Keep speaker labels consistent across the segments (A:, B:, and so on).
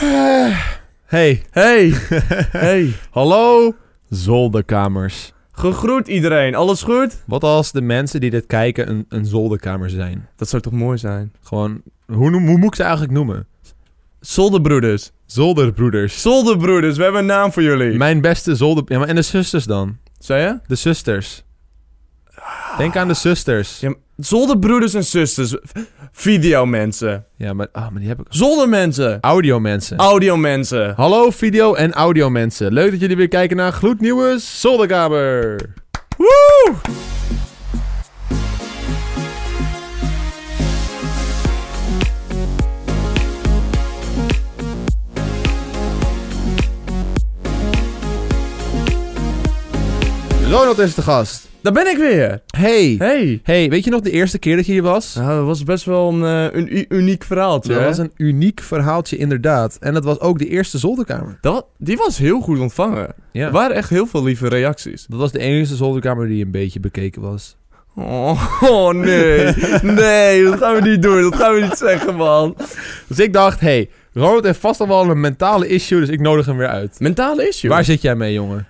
A: Eh. Hey,
B: Hey, hey.
A: hallo zolderkamers.
B: Gegroet iedereen, alles goed?
A: Wat als de mensen die dit kijken een, een zolderkamer zijn?
B: Dat zou toch mooi zijn?
A: Gewoon, hoe, noem- hoe moet ik ze eigenlijk noemen?
B: Zolderbroeders.
A: Zolderbroeders.
B: Zolderbroeders, we hebben een naam voor jullie.
A: Mijn beste zolder... Ja, maar en de zusters dan?
B: Zei je?
A: De zusters. Denk aan de zusters.
B: Ja, Zolderbroeders en zusters. Videomensen.
A: Ja, maar, ah, maar die heb ik...
B: Zoldermensen.
A: Audio mensen.
B: Audiomensen.
A: Hallo video- en audio mensen. Leuk dat jullie weer kijken naar een gloednieuwe Zolderkamer.
B: Woe!
A: Ronald is de gast.
B: Daar ben ik weer.
A: Hey.
B: Hey.
A: Hey, weet je nog de eerste keer dat je hier was?
B: Nou, dat was best wel een, eh, een u- uniek verhaaltje.
A: Dat
B: hè?
A: was een uniek verhaaltje inderdaad. En dat was ook de eerste zolderkamer.
B: Dat, die was heel goed ontvangen.
A: Ja.
B: Er waren echt heel veel lieve reacties.
A: Dat was de enige zolderkamer die een beetje bekeken was.
B: Oh, oh, nee. Nee, dat gaan we niet doen. Dat gaan we niet zeggen, man.
A: Dus ik dacht, hé, hey, Ronald heeft vast al wel een mentale issue, dus ik nodig hem weer uit.
B: Mentale issue.
A: Waar zit jij mee, jongen?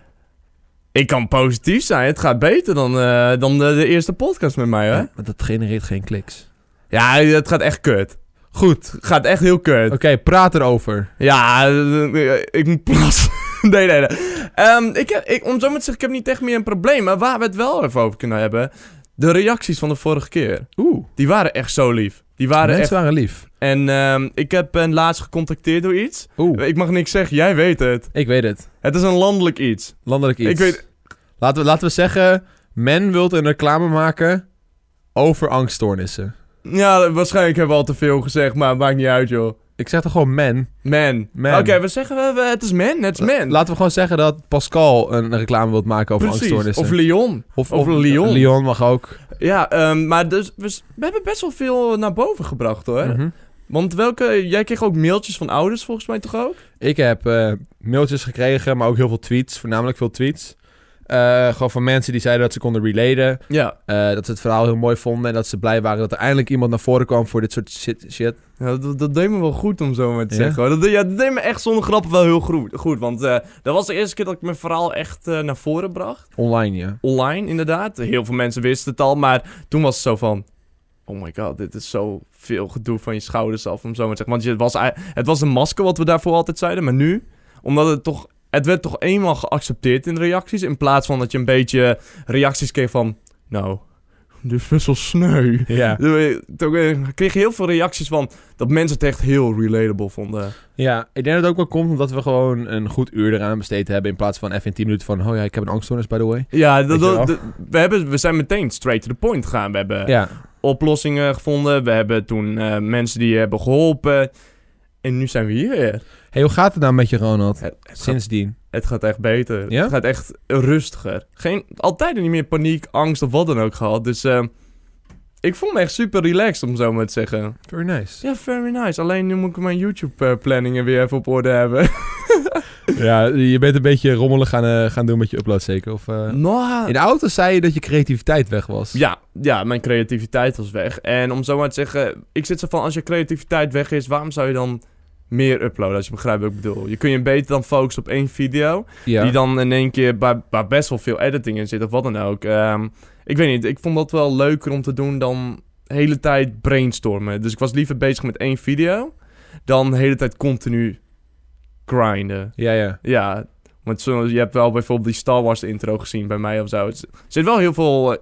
B: Ik kan positief zijn. Het gaat beter dan, eh, dan de, de eerste podcast met mij, hè?
A: Ja, maar dat genereert geen kliks.
B: Ja, het gaat echt kut. Goed. Het gaat echt heel kut.
A: Oké, praat erover.
B: Ja, eh, eh, ik moet plassen. nee, nee, nee. Ehm, ik heb, ik, om zo maar te zeggen, ik heb niet echt meer een probleem. Maar waar we het wel even over kunnen hebben... De reacties van de vorige keer.
A: Oeh,
B: Die waren echt zo lief. Die waren
A: mensen
B: echt...
A: waren lief.
B: En ehm, ik heb hen laatst gecontacteerd door iets.
A: Oeh,
B: Ik mag niks zeggen, jij weet het.
A: ik weet het.
B: Het is een landelijk iets.
A: Landelijk iets.
B: Ik weet-
A: Laten we, laten we zeggen, men wil een reclame maken over angststoornissen.
B: Ja, waarschijnlijk hebben we al te veel gezegd, maar het maakt niet uit, joh.
A: Ik zeg toch gewoon men.
B: Man.
A: Man.
B: Oké, we zeggen we, we- het is men, het is men.
A: Laten we gewoon zeggen dat Pascal een reclame wilt maken over
B: Precies.
A: angststoornissen.
B: Of Lyon.
A: Of,
B: Of Lyon.
A: Lyon mag ook.
B: Ja, ehm, maar dus, we, s- we hebben best wel veel naar boven gebracht, hoor.
A: Mhm.
B: Want welke, jij kreeg ook mailtjes van ouders, volgens mij toch ook?
A: Ik heb eh, mailtjes gekregen, maar ook heel veel tweets. Voornamelijk veel tweets. Eh, gewoon van mensen die zeiden dat ze konden relaten.
B: Ja.
A: eh, dat ze het verhaal heel mooi vonden. En dat ze blij waren dat er eindelijk iemand naar voren kwam voor dit soort shit. shit.
B: Ja, dat, dat deed me wel goed om zo maar te
A: Ja?
B: zeggen. hoor. Dat, de- ja, dat deed me echt zonder grappen wel heel goed. goed want eh, dat was de eerste keer dat ik mijn verhaal echt eh, naar voren bracht.
A: Online, ja.
B: Online inderdaad. Heel veel mensen wisten het al. Maar toen was het zo van... Oh my god, dit is zo veel gedoe van je schouders af. Om zo maar te zeggen. Want je, het, was, ei- het was een masker wat we daarvoor altijd zeiden. Maar nu, omdat het toch... Het werd toch eenmaal geaccepteerd in de reacties. In plaats van dat je een beetje reacties kreeg van... Nou, dit is best wel sneu.
A: Ja.
B: Toen eh, kreeg je heel veel reacties van dat mensen het echt heel relatable vonden.
A: ja, ik denk dat het ook wel komt omdat we gewoon een goed uur eraan besteed hebben. In plaats van even in 10 minuten van, oh ja, ik heb een angststoornis, by the way.
B: Ja,
A: Weet
B: dat,
A: je wel?
B: dat- dat- we, hebben, we zijn meteen straight to the point gegaan. We hebben
A: ja.
B: oplossingen gevonden. We hebben toen eh, mensen die je hebben geholpen. En nu zijn we hier weer.
A: hey, hoe gaat het nou met je, Ronald?
B: Het, het gaat,
A: Sindsdien.
B: het gaat echt beter.
A: Ja?
B: Het gaat echt rustiger. Geen, altijd niet meer paniek, angst of wat dan ook gehad. Dus eh, ik voel me echt super relaxed om zo maar te zeggen. Dus
A: Very nice.
B: Ja, very nice. Alleen nu moet ik mijn YouTube-planningen weer even op orde hebben.
A: Ja, je bent een beetje rommelig gaan, eh, gaan doen met je upload, zeker? Of, eh,
B: Nou,
A: In de auto zei je dat je creativiteit weg was.
B: Ja, ja, mijn creativiteit was weg. En om zo maar te zeggen, ik zit zo van, als je creativiteit weg is, waarom zou je dan meer uploaden, als je begrijpt wat ik bedoel? Je kun je beter dan focussen op één video,
A: Ja.
B: die dan in één keer, waar, waar best wel veel editing in zit, of wat dan ook. Ehm, ik weet niet, ik vond dat wel leuker om te doen dan de hele tijd brainstormen. Dus ik was liever bezig met één video, dan de hele tijd continu grinden.
A: ja, ja.
B: Ja, want zo, je hebt wel bijvoorbeeld die Star Wars intro gezien bij mij of zo. Het zit wel heel veel eh,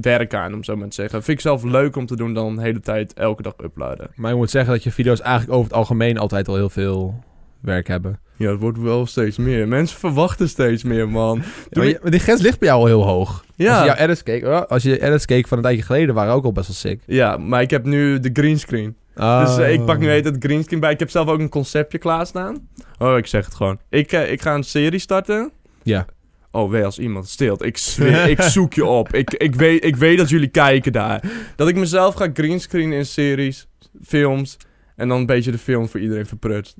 B: werk aan, om zo maar te zeggen. Vind ik zelf leuk om te doen dan de hele tijd elke dag uploaden.
A: Maar ik moet zeggen dat je video's eigenlijk over het algemeen altijd al heel veel werk hebben.
B: Ja, het wordt wel steeds meer. Mensen verwachten steeds meer, man.
A: maar, je- maar die grens ligt bij jou al heel hoog. Als
B: Ja,
A: je jouw edits keek, oh, als je edits keek van een tijdje geleden, waren ook al best wel sick.
B: ja maar ik heb nu de greenscreen. Dus eh, ik pak
A: Ah. Oh.
B: nu heet het greenscreen bij. Ik heb zelf ook een conceptje klaarstaan. Oh, ik zeg het gewoon. Ik, eh, ik ga een serie starten.
A: Ja.
B: Oh, wee, als iemand stilt. Ik zweer, ik zoek je op. Ik, ik, weet, ik weet dat jullie kijken daar. Dat ik mezelf ga greenscreenen in series, films... En dan een beetje de film voor iedereen verprutst.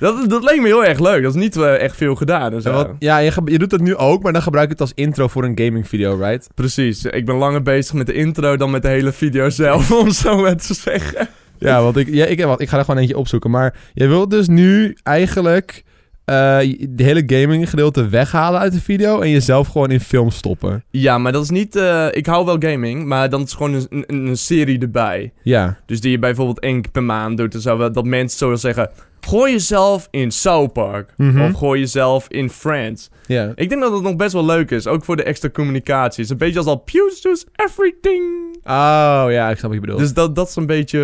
B: Dat, dat leek me heel erg leuk. Dat is niet eh, echt veel gedaan. en zo.
A: Ja, want- ja, je, ge- je doet dat nu ook, maar dan gebruik je het als intro voor een gaming video, right?
B: Precies. Ik ben langer bezig met de intro dan met de hele video zelf, om zo maar te zeggen.
A: Ja, want ik, ja, ik, wacht, ik ga er gewoon eentje opzoeken. Maar je wilt dus nu eigenlijk eh de hele gaming gedeelte weghalen uit de video en jezelf gewoon in film stoppen.
B: Ja, maar dat is niet... eh, ik hou wel gaming, maar dan is gewoon een, een, een serie erbij.
A: Ja.
B: Dus die je bijvoorbeeld één keer per maand doet. Dan zou wel- dat mensen zouden zeggen... Gooi jezelf in South Park.
A: Mhm.
B: Of gooi jezelf in Friends.
A: Ja.
B: Ik denk dat het nog best wel leuk is. Ook voor de extra communicatie. Het is een beetje als al... Pews does everything.
A: Oh ja, ik snap wat je bedoelt.
B: Dus dat, dat is een beetje...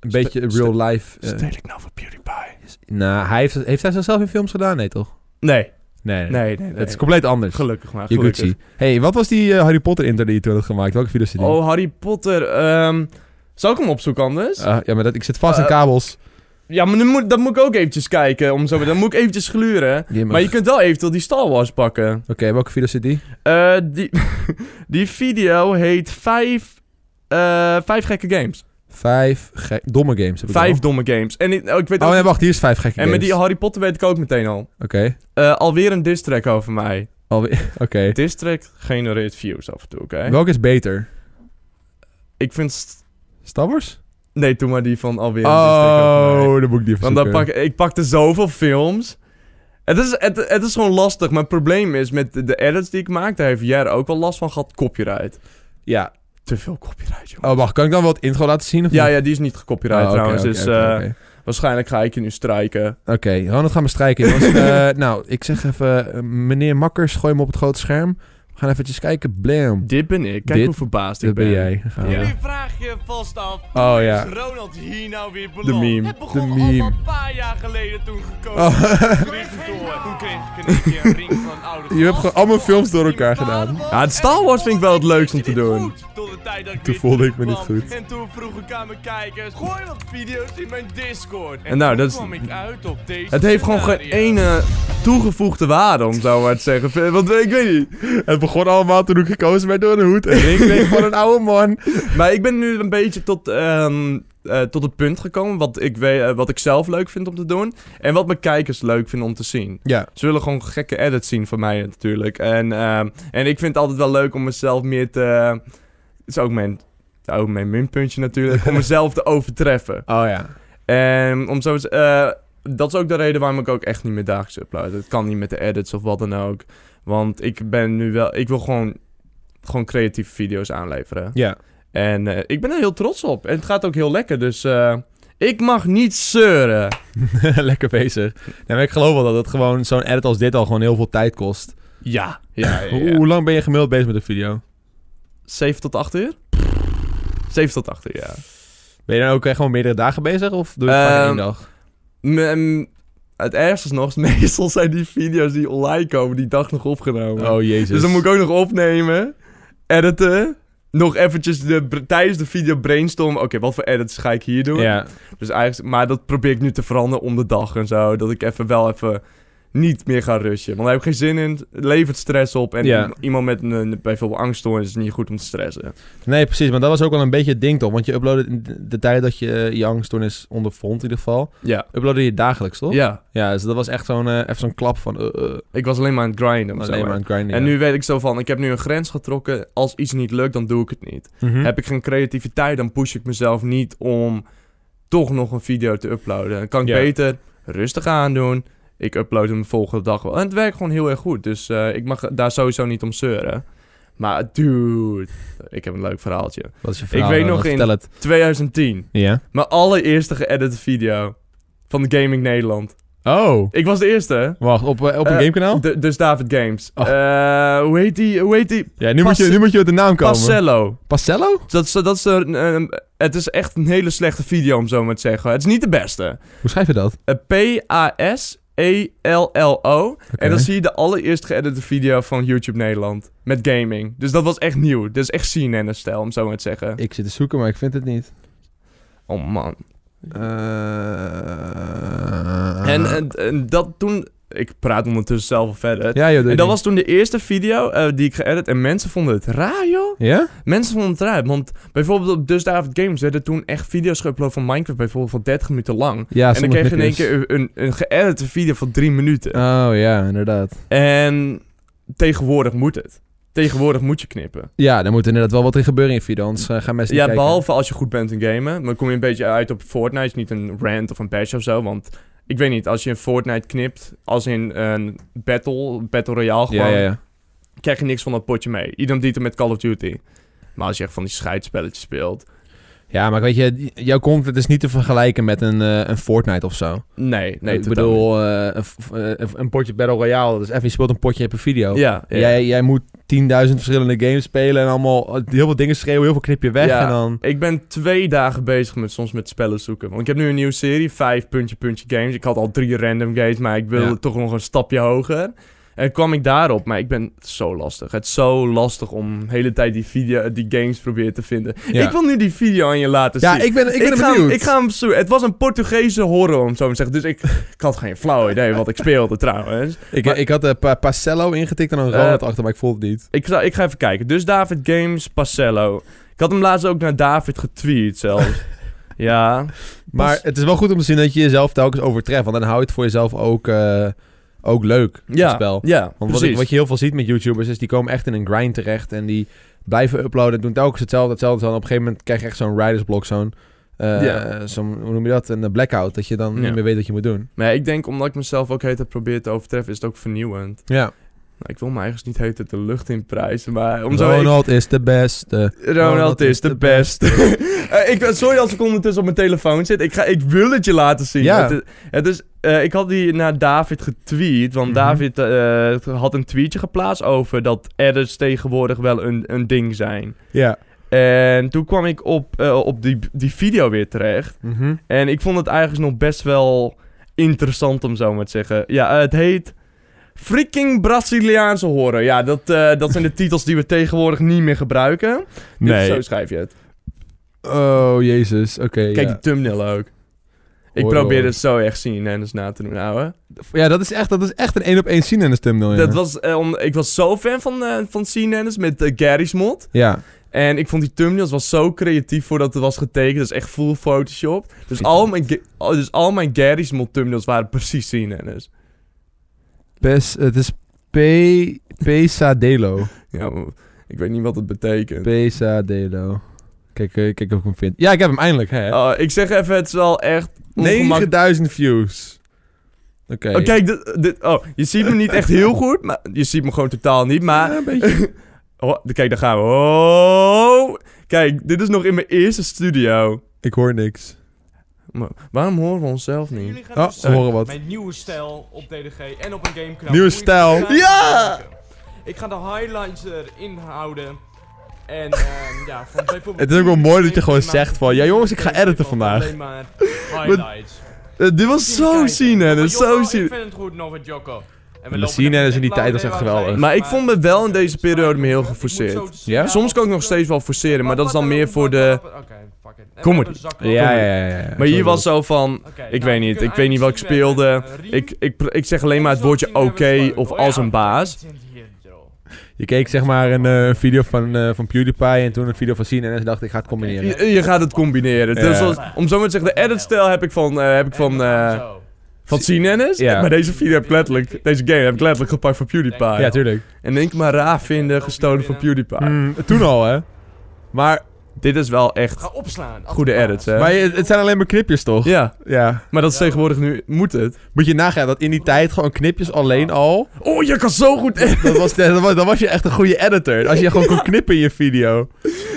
A: een beetje
B: Ste-
A: real life. eh.
B: Stel ik nou voor PewDiePie?
A: nou, hij heeft, heeft hij zichzelf in films gedaan? Nee, toch?
B: Nee,
A: Nee.
B: nee, nee. nee,
A: Het is compleet anders.
B: Gelukkig maar, gelukkig.
A: Yaguchi. hey, wat was die eh, Harry Potter intro die je toen had gemaakt? Welke video zit die?
B: Oh, Harry Potter. ehm zal ik hem opzoeken anders?
A: Ah, ja, maar dat, ik zit vast in
B: Eh,
A: kabels.
B: Ja, maar dan moet, dat moet ik ook eventjes kijken. Om zo, dan moet ik eventjes gluren.
A: Die mag-
B: Maar je kunt wel eventueel die Star Wars pakken.
A: Oké, welke video zit die?
B: Eh, die, die video heet vijf, eh, vijf gekke games.
A: Vijf ge- domme games. Heb ik
B: Vijf
A: al.
B: domme games. En ik, oh, ik weet
A: Oh
B: ook-
A: nee, wacht, hier is vijf gekke
B: En
A: games.
B: met die Harry Potter weet ik ook meteen al.
A: Oké,
B: Eh, alweer een diss track over mij.
A: alweer. Oké.
B: Diss track genereert views af en toe, oké?
A: Welke is beter?
B: Ik vind... st-
A: Star Wars?
B: Nee, doe maar die van alweer een diss track over mij.
A: Oh, dat moet ik niet
B: Want dan
A: verzoeken.
B: pak, ik pakte zoveel films. Het is, het, het is gewoon lastig. Maar het probleem is, met de- de edits die ik maak, daar heeft Jere ook wel last van gehad. Copyright.
A: Ja.
B: Te veel copyright, jongen.
A: Oh, wacht. Kan ik dan wel het intro laten zien? Of
B: Ja,
A: niet?
B: ja, die is niet
A: Oh,
B: gecopyright
A: oké,
B: trouwens.
A: oké,
B: dus
A: oké,
B: eh,
A: oké.
B: waarschijnlijk ga ik je nu strijken.
A: Oké, Ronald gaan we strijken. jongens. Eh, nou, ik zeg even... eh, meneer Makkers, gooi hem op het grote scherm. We gaan eventjes kijken. Blam.
B: Dit ben ik. Kijk
A: Dit-
B: hoe verbaasd
A: Dat
B: ik
A: ben
B: ben.
A: jij. Gaan we.
C: Jullie vragen je vast af,
A: Oh,
C: hoe
A: ja.
C: is Ronald hier nou weer beland?
B: De meme.
C: Het begon
A: De meme.
C: al een paar jaar geleden toen gekozen.
A: Oh.
C: Toen is het door. Toen kreeg ik een keer een ring van
A: Je
C: oude
A: hebt gewoon
C: gast.
A: allemaal films door
C: Die mijn
A: elkaar
C: vader
A: gedaan.
C: was.
B: Ja, het
C: En
B: Star Wars vind ik wel het leukst om te
C: vond ik dit
B: doen.
C: goed. Tot de tijd dat ik
A: Toen
C: weer
A: voelde ik me niet
C: terugkwam.
A: goed.
C: En toen vroeg ik aan mijn kijkers, gooi wat video's in mijn Discord. En,
B: En nou,
C: toen
B: dat is-
C: kwam ik uit op deze
B: Het heeft gewoon geen
C: scenario.
B: ene toegevoegde waarde, om zo maar te zeggen. Want ik weet niet.
A: Het begon allemaal toen ik gekozen werd door een hoed. En ik kreeg van een oude man.
B: Maar ik ben nu een beetje tot, ehm, eh, tot het punt gekomen wat ik, weet, eh, wat ik zelf leuk vind om te doen. En wat mijn kijkers leuk vinden om te zien.
A: Ja.
B: Ze willen gewoon gekke edits zien van mij natuurlijk. En, ehm, en ik vind het altijd wel leuk om mezelf meer te... het is ook mijn, ook mijn minpuntje natuurlijk. om mezelf te overtreffen.
A: Oh ja.
B: En om zo eens, eh, dat is ook de reden waarom ik ook echt niet meer dagelijks upload. Het kan niet met de edits of wat dan ook. Want ik ben nu wel... Ik wil gewoon, gewoon creatieve video's aanleveren.
A: Ja.
B: En eh, ik ben er heel trots op. En het gaat ook heel lekker, dus eh, ik mag niet zeuren.
A: Lekker bezig. Nee, maar ik geloof wel dat het gewoon zo'n edit als dit al gewoon heel veel tijd kost.
B: Ja. ja, ja,
A: Hoe,
B: ja.
A: hoe lang ben je gemiddeld bezig met een video?
B: 7 tot 8 uur? 7 tot 8 uur, ja.
A: Ben je dan ook echt gewoon meerdere dagen bezig of doe je het gewoon in één
B: Ehm,
A: dag?
B: M- m- het ergste is nog, is meestal zijn die video's die online komen die dag nog opgenomen.
A: Oh jezus.
B: dus dan moet ik ook nog opnemen, editen, nog eventjes de, br- tijdens de video brainstormen. Oké, wat voor edits ga ik hier doen?
A: Ja.
B: Dus eigenlijk, maar dat probeer ik nu te veranderen om de dag en zo. Dat ik even wel even niet meer ga rushen. Want daar heb ik geen zin in. Het levert stress op. En
A: Ja.
B: i- iemand met een, een- bijvoorbeeld angststoornis is niet goed om te stressen.
A: Nee, precies. Maar dat was ook wel een beetje het ding toch? Want je uploadde in de- de tijd dat je eh, je angststoornis ondervond in ieder geval.
B: Ja.
A: Uploadde je dagelijks toch?
B: Ja.
A: Ja, dus dat was echt zo'n eh, even zo'n klap van eh, eh,
B: Ik was alleen maar aan het grinden. om zo
A: alleen
B: maar.
A: maar aan het grinden.
B: En
A: ja.
B: nu weet ik zo van, ik heb nu een grens getrokken. Als iets niet lukt, dan doe ik het niet.
A: Mhm.
B: Heb ik geen creativiteit, dan push ik mezelf niet om toch nog een video te uploaden. Dan kan ik
A: Ja.
B: beter rustig aandoen. Ik upload hem de volgende dag wel. En het werkt gewoon heel erg goed. Dus eh, ik mag daar sowieso niet om zeuren. Maar dude, ik heb een leuk verhaaltje.
A: Wat is je verhaal
B: weet
A: dan?
B: nog
A: Wat-
B: in-
A: Vertel het.
B: 2010.
A: Ja.
B: Mijn allereerste geëdite video van de Gaming Nederland.
A: Oh.
B: Ik was de eerste. hè?
A: Wacht, op, eh, op een
B: Eh,
A: gamekanaal?
B: D- dus David Games.
A: Oh.
B: Eh, hoe heet die? Hoe heet die?
A: Ja, nu moet, je,
B: Pas-
A: nu moet je met de naam komen.
B: Pacello.
A: Pacello?
B: Dat is, dat is een, een- het is echt een hele slechte video om zo maar te zeggen. Het is niet de beste.
A: Hoe schrijf je dat?
B: Eh, E P-A-S-E-L-L-O. En dan zie je de allereerst geëdite video van YouTube Nederland. Met gaming. Dus dat was echt nieuw. Dat is echt CNN-stijl, om zo maar te zeggen.
A: Ik zit te zoeken, maar ik vind het niet.
B: Oh man.
A: Eh, Ah.
B: En, en, en dat toen... Ik praat ondertussen zelf al verder.
A: ja, joh, doe
B: En
A: die.
B: dat was toen de eerste video eh, die ik geëdit. En mensen vonden het raar, joh.
A: Ja?
B: Mensen vonden het raar. Want bijvoorbeeld op Dus David Games werden toen echt video's geüpload van Minecraft. Bijvoorbeeld van 30 minuten lang.
A: Ja,
B: en dan kreeg je in één keer een, een, een geëdite video van 3 minuten.
A: Oh ja, inderdaad.
B: En tegenwoordig moet het. Tegenwoordig moet je knippen.
A: Ja, daar moet inderdaad wel wat in gebeuren in video, anders eh, gaan mensen niet
B: Ja,
A: kijken.
B: behalve als je goed bent in gamen. Maar dan kom je een beetje uit op Fortnite. Is niet een rant of een patch of zo. Want ik weet niet, als je in Fortnite knipt, als in een battle, battle royale gewoon,
A: Ja, ja, ja.
B: krijg je niks van dat potje mee. Idem met Call of Duty. Maar als je echt van die scheidspelletjes speelt.
A: ja, maar weet je, jouw content is niet te vergelijken met een, eh, een Fortnite of zo.
B: Nee, nee,
A: ik
B: totaal
A: bedoel, eh, een, f- eh, een potje Battle Royale. Dus even, je speelt een potje, je hebt een video.
B: niet. Ja, ja.
A: Jij, jij moet 10.000 verschillende games spelen en allemaal eh, heel veel dingen schreeuwen, heel veel knip je weg
B: Ja.
A: en dan...
B: Ik ben twee dagen bezig met soms met spellen zoeken. Want ik heb nu een nieuwe serie, vijf puntje puntje games. Ik had al drie random games, maar ik wilde
A: Ja.
B: toch nog een stapje hoger. En kwam ik daarop, maar ik ben het is zo lastig. Het is zo lastig om de hele tijd die, video, die games proberen te vinden.
A: Ja.
B: Ik wil nu die video aan je laten
A: Ja,
B: zien.
A: ik ben, ik ben
B: ga,
A: benieuwd.
B: ik ga hem zoeken. Het was een Portugese horror, om het zo maar te zeggen. Dus ik, ik had geen flauw idee wat ik speelde trouwens.
A: ik,
B: maar-
A: ik had eh, Pa- Pacello ingetikt en een
B: Eh,
A: Ronald achter, maar ik voelde het niet.
B: Ik ga, ik ga even kijken. Dus David Games Pacello. Ik had hem laatst ook naar David getweet zelfs. ja.
A: Maar het is wel goed om te zien dat je jezelf telkens overtreft. Want dan hou je het voor jezelf ook, eh, ook leuk,
B: ja,
A: het spel.
B: Ja,
A: Want wat,
B: precies.
A: ik- wat je heel veel ziet met YouTubers is, die komen echt in een grind terecht. En die blijven uploaden en doen telkens hetzelfde, hetzelfde. hetzelfde. En op een gegeven moment krijg je echt zo'n riders block, zo'n... eh,
B: Ja.
A: zo'n- hoe noem je dat? Een eh, blackout. Dat je dan
B: Ja.
A: niet meer weet wat je moet doen.
B: Maar ja, ik denk omdat ik mezelf ook heet het probeer te overtreffen, is het ook vernieuwend.
A: Ja.
B: Nou, ik wil me eigenlijk niet heet het de lucht in prijzen, maar om zo...
A: Ronald is de beste.
B: ik- Ronald is de beste. Eh, ik, ben- sorry als ik ondertussen op mijn telefoon zit. Ik, ga, ik wil het je laten zien.
A: Ja.
B: Het, is- het is, eh, ik had die naar David getweet. Want
A: Mhm.
B: David eh, had een tweetje geplaatst over dat edits tegenwoordig wel een, een ding zijn.
A: Ja.
B: En toen kwam ik op, eh, op die, die video weer terecht. En ik vond het eigenlijk nog best wel interessant om zo maar te zeggen. Ja, eh, het heet Freaking Braziliaanse Horror. Ja, dat, eh, dat zijn de titels die we tegenwoordig niet meer gebruiken. Nee. zo schrijf je het.
A: Oh, jezus. Oké,
B: Kijk
A: ja.
B: die thumbnail ook. Ik
A: Horror.
B: probeer het zo echt zien en eens na te doen, ouwe.
A: Ja, dat is echt, dat is echt een één op één scene in de thumbnail. Oh, ja.
B: Dat was, eh, om, ik was zo fan van, eh van CNN met eh, Gary's mod.
A: Ja.
B: En ik vond die thumbnails was zo creatief voordat het was getekend. Dat is echt full Photoshop. Dus
A: Vet.
B: al mijn, Ga- al- dus al mijn Gary's mod thumbnails waren precies CNN's.
A: Pes, het is P... Pesadelo.
B: Ja, maar ik weet niet wat het betekent. Eh,
A: Pesadelo. Kijk, eh, kijk of ik hem vind. Ja, ik heb hem eindelijk. Hè?
B: Oh, ik zeg even, het is wel echt ongemak...
A: 9000 views. Oké.
B: Oh, kijk, dit, dit- oh, je ziet me niet echt heel goed, maar je ziet me gewoon totaal niet, maar...
A: Ja, een beetje.
B: Oh, kijk, daar gaan we. Oh, kijk, dit is nog in mijn eerste studio.
A: Ik hoor niks.
B: Maar waarom horen we onszelf
C: En
B: niet?
C: Jullie gaan
A: Oh,
C: dus
A: we horen wat.
C: mijn nieuwe stijl op DDG en op een gamekanaal.
A: Nieuwe
C: Hoe ik
A: stijl.
C: het graag
B: Ja!
C: wil maken. Ik ga de highlights erin houden. En ehm ja, van bijvoorbeeld...
A: Het is ook wel mooi dat je gewoon
C: Thema-
A: zegt van, ja, jongens, ik ga editen vandaag.
C: Alleen maar highlights.
B: Eh, dit was zo
C: dat
B: CNN, zo CNN.
C: Ik vind het goed, Nova Joko.
A: De CNN is in die tijd was echt geweldig.
B: Maar ik vond me wel in deze periode me heel geforceerd.
A: Ja?
B: Soms kan ik nog steeds wel forceren, maar dat is dan meer voor de...
C: Oké, fuck it. En
B: Kom
C: we
B: maar.
C: hebben zakken.
A: Ja, ja, ja. ja.
B: Maar hier was zo van...
C: Oké,
B: Ik
C: nou,
B: weet
C: we
B: niet,
C: kunnen
B: ik weet niet wat ik
C: eigenlijk zien, we
B: speelde.
C: hebben, eh,
B: Ik, ik, pr- ik zeg alleen maar het woordje oké of als een baas.
C: Oh
A: Je keek zeg maar een eh, video van, eh, van PewDiePie en toen een video van CNN en dacht ik ga het combineren.
B: Je, je gaat het combineren.
A: Ja.
B: Dus als- om zo maar te zeggen, de edit-stijl heb ik van, eh, heb ik van, eh van CNN's.
A: Ja.
B: Maar deze video heb ik letterlijk, deze game heb ik letterlijk gepakt van PewDiePie.
A: Ja, tuurlijk.
B: En denk maar raar vinden, gestolen van PewDiePie.
A: Mm, toen al, hè? Maar,
B: Dit is wel echt
C: Ga opslaan. als
B: goede
C: een baas.
B: edits, hè.
A: maar je- het zijn alleen maar knipjes, toch?
B: ja,
A: Ja.
B: maar dat is tegenwoordig nu, moet het.
A: Moet je nagaan dat in die tijd gewoon knipjes alleen al...
B: Oh, je kan zo goed editen.
A: Dat was, dat was, dan was je echt een goede editor. Als je gewoon kon knippen in je video.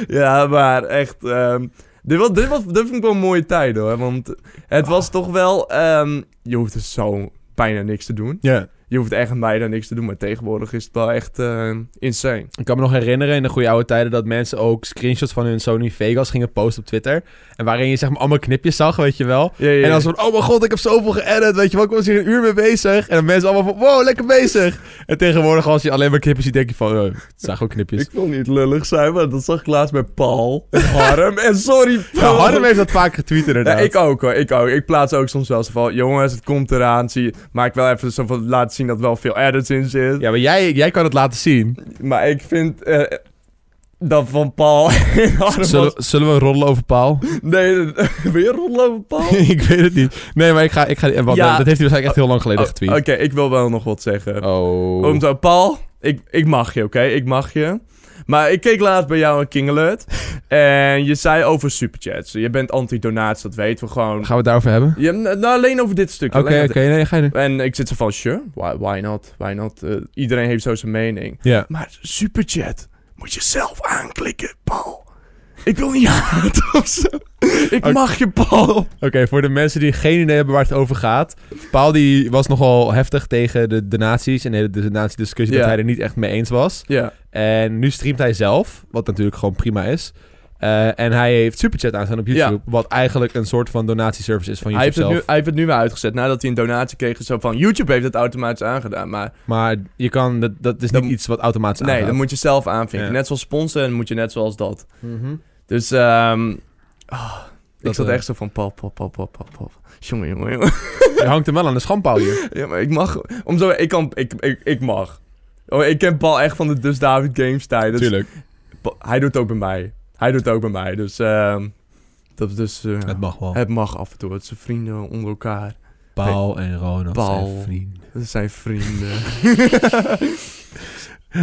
B: Ja, maar echt... ehm, dit, was, dit, was, dit vond ik wel een mooie tijd, hoor. Want het was toch wel... ehm, je hoeft dus zo bijna niks te doen.
A: Ja.
B: Je hoeft echt bijna niks te doen, maar tegenwoordig is het wel echt ehm, insane.
A: Ik kan me nog herinneren in de goede oude tijden dat mensen ook screenshots van hun Sony Vegas gingen posten op Twitter. En waarin je zeg maar allemaal knipjes zag, weet je wel.
B: Ja, ja, ja.
A: En dan zo van, oh mijn god, ik heb zoveel geëdit, weet je wel. Ik was hier een uur mee bezig. En dan mensen allemaal van, wow, lekker bezig. En tegenwoordig als je alleen maar knipjes ziet, denk je van, oh, het zijn gewoon knipjes.
B: Ik wil niet lullig zijn, maar dat zag ik laatst bij Paul. Harm. En sorry,
A: Ja,
B: Paul.
A: Harm heeft dat vaak getweet
B: Ja,
A: inderdaad.
B: ik ook hoor, ik ook. Ik plaats ook soms wel eens van, jongens, het komt eraan, zie je. Maar ik wil even zo van laten zien dat er wel veel edits in zit.
A: Ja, maar jij, jij kan het laten zien.
B: Maar ik vind eh, dat van Paul en Harm was-
A: Zullen, zullen we rollen over Paal?
B: Nee, dat- wil je rondlopen, Paul?
A: ik weet het niet. Nee, maar ik ga... Ik ga want,
B: Ja.
A: Oh, eh, Dat heeft hij waarschijnlijk echt heel lang geleden
B: Oh, Oké,
A: getweet.
B: ik wil wel nog wat zeggen.
A: Oh.
B: Om zo, Paul, Ik, ik mag je, oké? Ik mag je. Maar ik keek laatst bij jou een King Alert. en je zei over superchats. Je bent anti-donatie, dat weten we gewoon.
A: Gaan we het daarover hebben?
B: Je, nou, alleen over dit stukje.
A: Oké,
B: alleen
A: oké.
B: over
A: nee, ga je nu.
B: dit- En ik zit zo van, sure, why, why not? Why not? Eh, iedereen heeft zo zijn mening.
A: Ja.
B: Maar superchat moet je zelf aanklikken, Paul. Ik wil niet haten of zo. Ik
A: Oké.
B: mag je, Paul.
A: Oké, voor de mensen die geen idee hebben waar het over gaat. Paul die was nogal heftig tegen de donaties en de hele donatiediscussie
B: Ja.
A: dat hij er niet echt mee eens was.
B: Ja,
A: En nu streamt hij zelf, wat natuurlijk gewoon prima is. Eh, en hij heeft Superchat aanstaan op YouTube, wat eigenlijk een soort van donatieservice is van
B: hij heeft,
A: YouTube
B: het nu,
A: zelf.
B: hij heeft het nu weer uitgezet nadat hij een donatie kreeg. Zo van, YouTube heeft het automatisch aangedaan, maar...
A: Maar je kan, dat, dat is niet
B: Dan-
A: iets wat automatisch
B: Nee,
A: aangaat.
B: dat moet je zelf aanvinken.
A: Ja.
B: Net zoals sponsoren moet je net zoals dat.
A: Mhm.
B: Dus ehm ah, ik
A: Dat,
B: zat
A: eh,
B: echt zo van pap, pap, pap, pap, pap, pap. Jongen, jongen, jongen.
A: Je hangt hem wel aan de schandpaal hier.
B: Ja, maar ik mag... Om zo, ik, kan, ik, ik, ik mag. Oh, ik ken Paul echt van de Dus David Games tijd. Dus
A: Natuurlijk.
B: Pa- hij doet het ook bij mij. Hij doet het ook bij mij. Dus ehm dat is dus... eh,
A: Het mag wel.
B: het mag af en toe. Het zijn vrienden onder elkaar.
A: Paul en Ronald
B: Paul.
A: zijn vrienden.
B: Het zijn vrienden.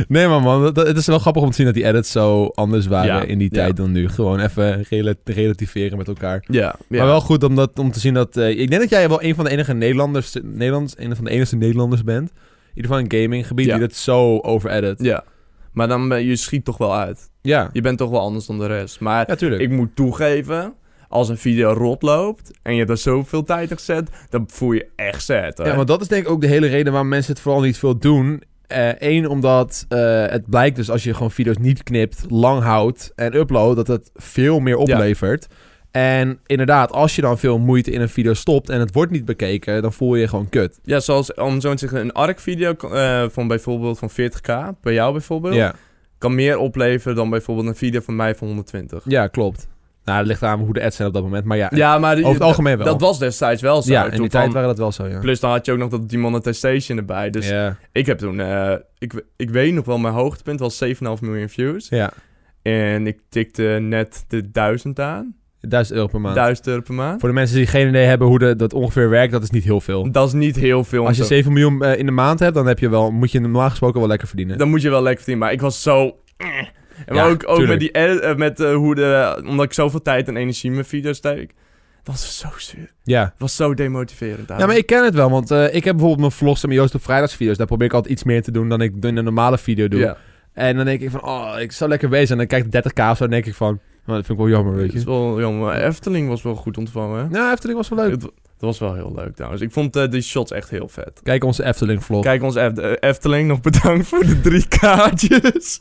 A: Nee, maar man, dat- dat- het is wel grappig om te zien dat die edits zo anders waren
B: Ja,
A: in die
B: ja.
A: tijd dan nu. Gewoon even rela- relativeren met elkaar.
B: ja, ja.
A: Maar wel goed om, dat, om te zien dat... eh, ik denk dat jij wel een van de enige Nederlanders, Nederlands, een van de enige Nederlanders bent. In ieder geval in het gaminggebied
B: Ja.
A: die dat zo over-edit.
B: Ja. Maar dan ben je schiet toch wel uit.
A: Ja.
B: Je bent toch wel anders dan de rest. Maar
A: ja, tuurlijk.
B: Ik moet toegeven, als een video rot loopt en je hebt er zoveel tijd in gezet, dan voel je echt zet.
A: Ja, want dat is denk ik ook de hele reden waarom mensen het vooral niet veel doen. Eén, omdat eh, het blijkt dus als je gewoon video's niet knipt, lang houdt en upload, dat het veel meer oplevert. En inderdaad, als je dan veel moeite in een video stopt en het wordt niet bekeken, dan voel je je gewoon kut.
B: ja, zoals om zo te zeggen, een ARC-video eh, van bijvoorbeeld van 40k, bij jou bijvoorbeeld,
A: Ja,
B: kan meer opleveren dan bijvoorbeeld een video van mij van 120.
A: ja klopt. Nou, het ligt aan hoe de ads zijn op dat moment. Maar ja,
B: Ja, maar die-
A: over het algemeen wel.
B: dat was destijds wel zo.
A: ja, in
B: Toen
A: die tijd
B: van-
A: waren dat wel zo, ja.
B: Plus dan had je ook nog dat die monetization erbij. Dus
A: ja.
B: ik heb toen, eh, ik, ik weet nog wel, mijn hoogtepunt was 7,5 miljoen views.
A: ja,
B: En ik tikte net de 1000 aan,
A: 1000 euro per maand.
B: 1000 euro per maand.
A: Voor de mensen die geen idee hebben hoe de- dat ongeveer werkt, dat is niet heel veel.
B: Dat is niet heel veel. om
A: Als je
B: te-
A: 7 miljoen eh, in de maand hebt, dan heb je wel, moet je normaal gesproken wel lekker verdienen.
B: Dan moet je wel lekker verdienen. Maar ik was zo... eh. En maar
A: Ja,
B: ook, ook
A: tuurlijk.
B: met die edit, eh, met eh, hoe de... Omdat ik zoveel tijd en energie in mijn video's steek. Dat was zo zuur.
A: Ja.
B: Dat was zo demotiverend.
A: Ja, maar ik ken het wel, want eh, ik heb bijvoorbeeld mijn vlogs en mijn Joost op vrijdagsvideo's. Daar probeer ik altijd iets meer te doen dan ik in een normale video doe.
B: Ja,
A: En dan denk ik van, oh, ik zou lekker wezen. En dan kijk ik 30k of zo, dan denk ik van, oh, dat vind ik wel jammer, weet
B: dat is
A: je.
B: wel jammer. Efteling was wel goed ontvangen.
A: Nou, Efteling was wel leuk.
B: Het, wa- dat was wel heel leuk trouwens. Ik vond eh, die shots echt heel vet.
A: Kijk onze Efteling-vlog.
B: Kijk, ons Eft- eh, Efteling, nog bedankt voor de drie kaartjes.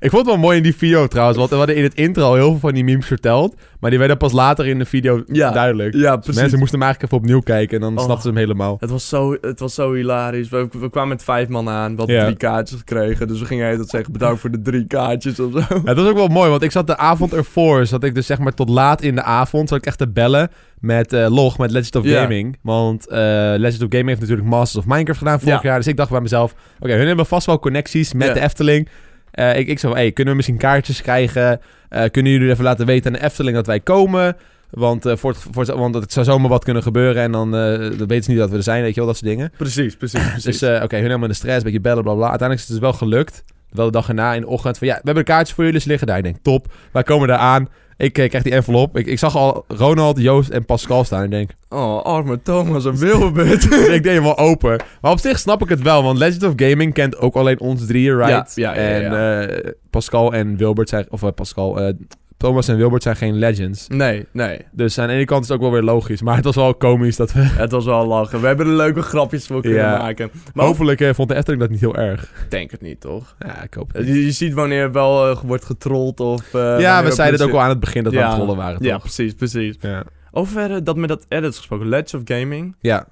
A: Ik vond het wel mooi in die video trouwens, want we hadden in het intro al heel veel van die memes verteld. Maar die werden pas later in de video
B: Ja.
A: duidelijk.
B: Ja,
A: Dus
B: precies.
A: mensen moesten hem eigenlijk even opnieuw kijken en dan
B: Oh.
A: snapten ze hem helemaal.
B: Het was zo, het was zo hilarisch. We, we kwamen met vijf man aan. We hadden
A: Ja.
B: drie kaartjes gekregen. Dus we gingen dat zeggen, bedankt voor de drie kaartjes of zo.
A: Ja, dat was ook wel mooi, want ik zat de avond ervoor, zat ik dus zeg maar tot laat in de avond, zat ik echt te bellen met eh, Log, met Legend of
B: Ja.
A: Gaming. Want eh, Legend of Gaming heeft natuurlijk Masters of Minecraft gedaan vorig
B: Ja.
A: jaar, dus ik dacht bij mezelf, oké, hun hebben vast wel connecties met
B: Ja.
A: de Efteling. Eh, ik, ik zei, hey, kunnen we misschien kaartjes krijgen? Eh, kunnen jullie even laten weten aan de Efteling dat wij komen? Want, eh, voor het, voor het- want het zou zomaar wat kunnen gebeuren en dan eh, dan weten ze niet dat we er zijn, weet je wel, dat soort dingen.
B: Precies, precies, precies.
A: Dus eh, oké, hun helemaal in de stress, een beetje bellen, bla bla. Uiteindelijk is het dus wel gelukt. Wel de dag erna in de ochtend van ja, we hebben een kaartje voor jullie, ze liggen daar. Ik denk, top, wij komen daar aan. Ik eh, krijg die envelop. Ik, ik zag al Ronald, Joost en Pascal staan. Ik denk,
B: Oh, arme Thomas en Wilbert.
A: ik deed hem wel open. Maar op zich snap ik het wel, want Legend of Gaming kent ook alleen ons drieën, right?
B: Ja, ja, ja,
A: en eh, Pascal en Wilbert zijn, of eh, Pascal, eh, Thomas en Wilbert zijn geen legends.
B: nee, nee.
A: Dus aan de ene kant is het ook wel weer logisch. Maar het was wel komisch dat we...
B: Het was wel lachen. We hebben er leuke grapjes voor kunnen
A: Ja.
B: maken. Maar
A: Maar hopelijk eh, vond de Efteling dat niet heel erg.
B: ik denk het niet, toch?
A: Ja, ik hoop het niet.
B: Je, je ziet wanneer wel eh, wordt getrold of... eh,
A: ja,
B: wanneer
A: we zeiden het ook al aan het begin dat we
B: Ja.
A: aan het rollen waren,
B: Ja,
A: toch?
B: precies, precies.
A: Ja.
B: Over eh, dat met dat edits gesproken. Let's of Gaming.
A: Ja.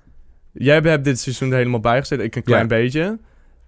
B: Jij hebt dit seizoen er helemaal bij gezeten. Ik een klein
A: Ja.
B: beetje.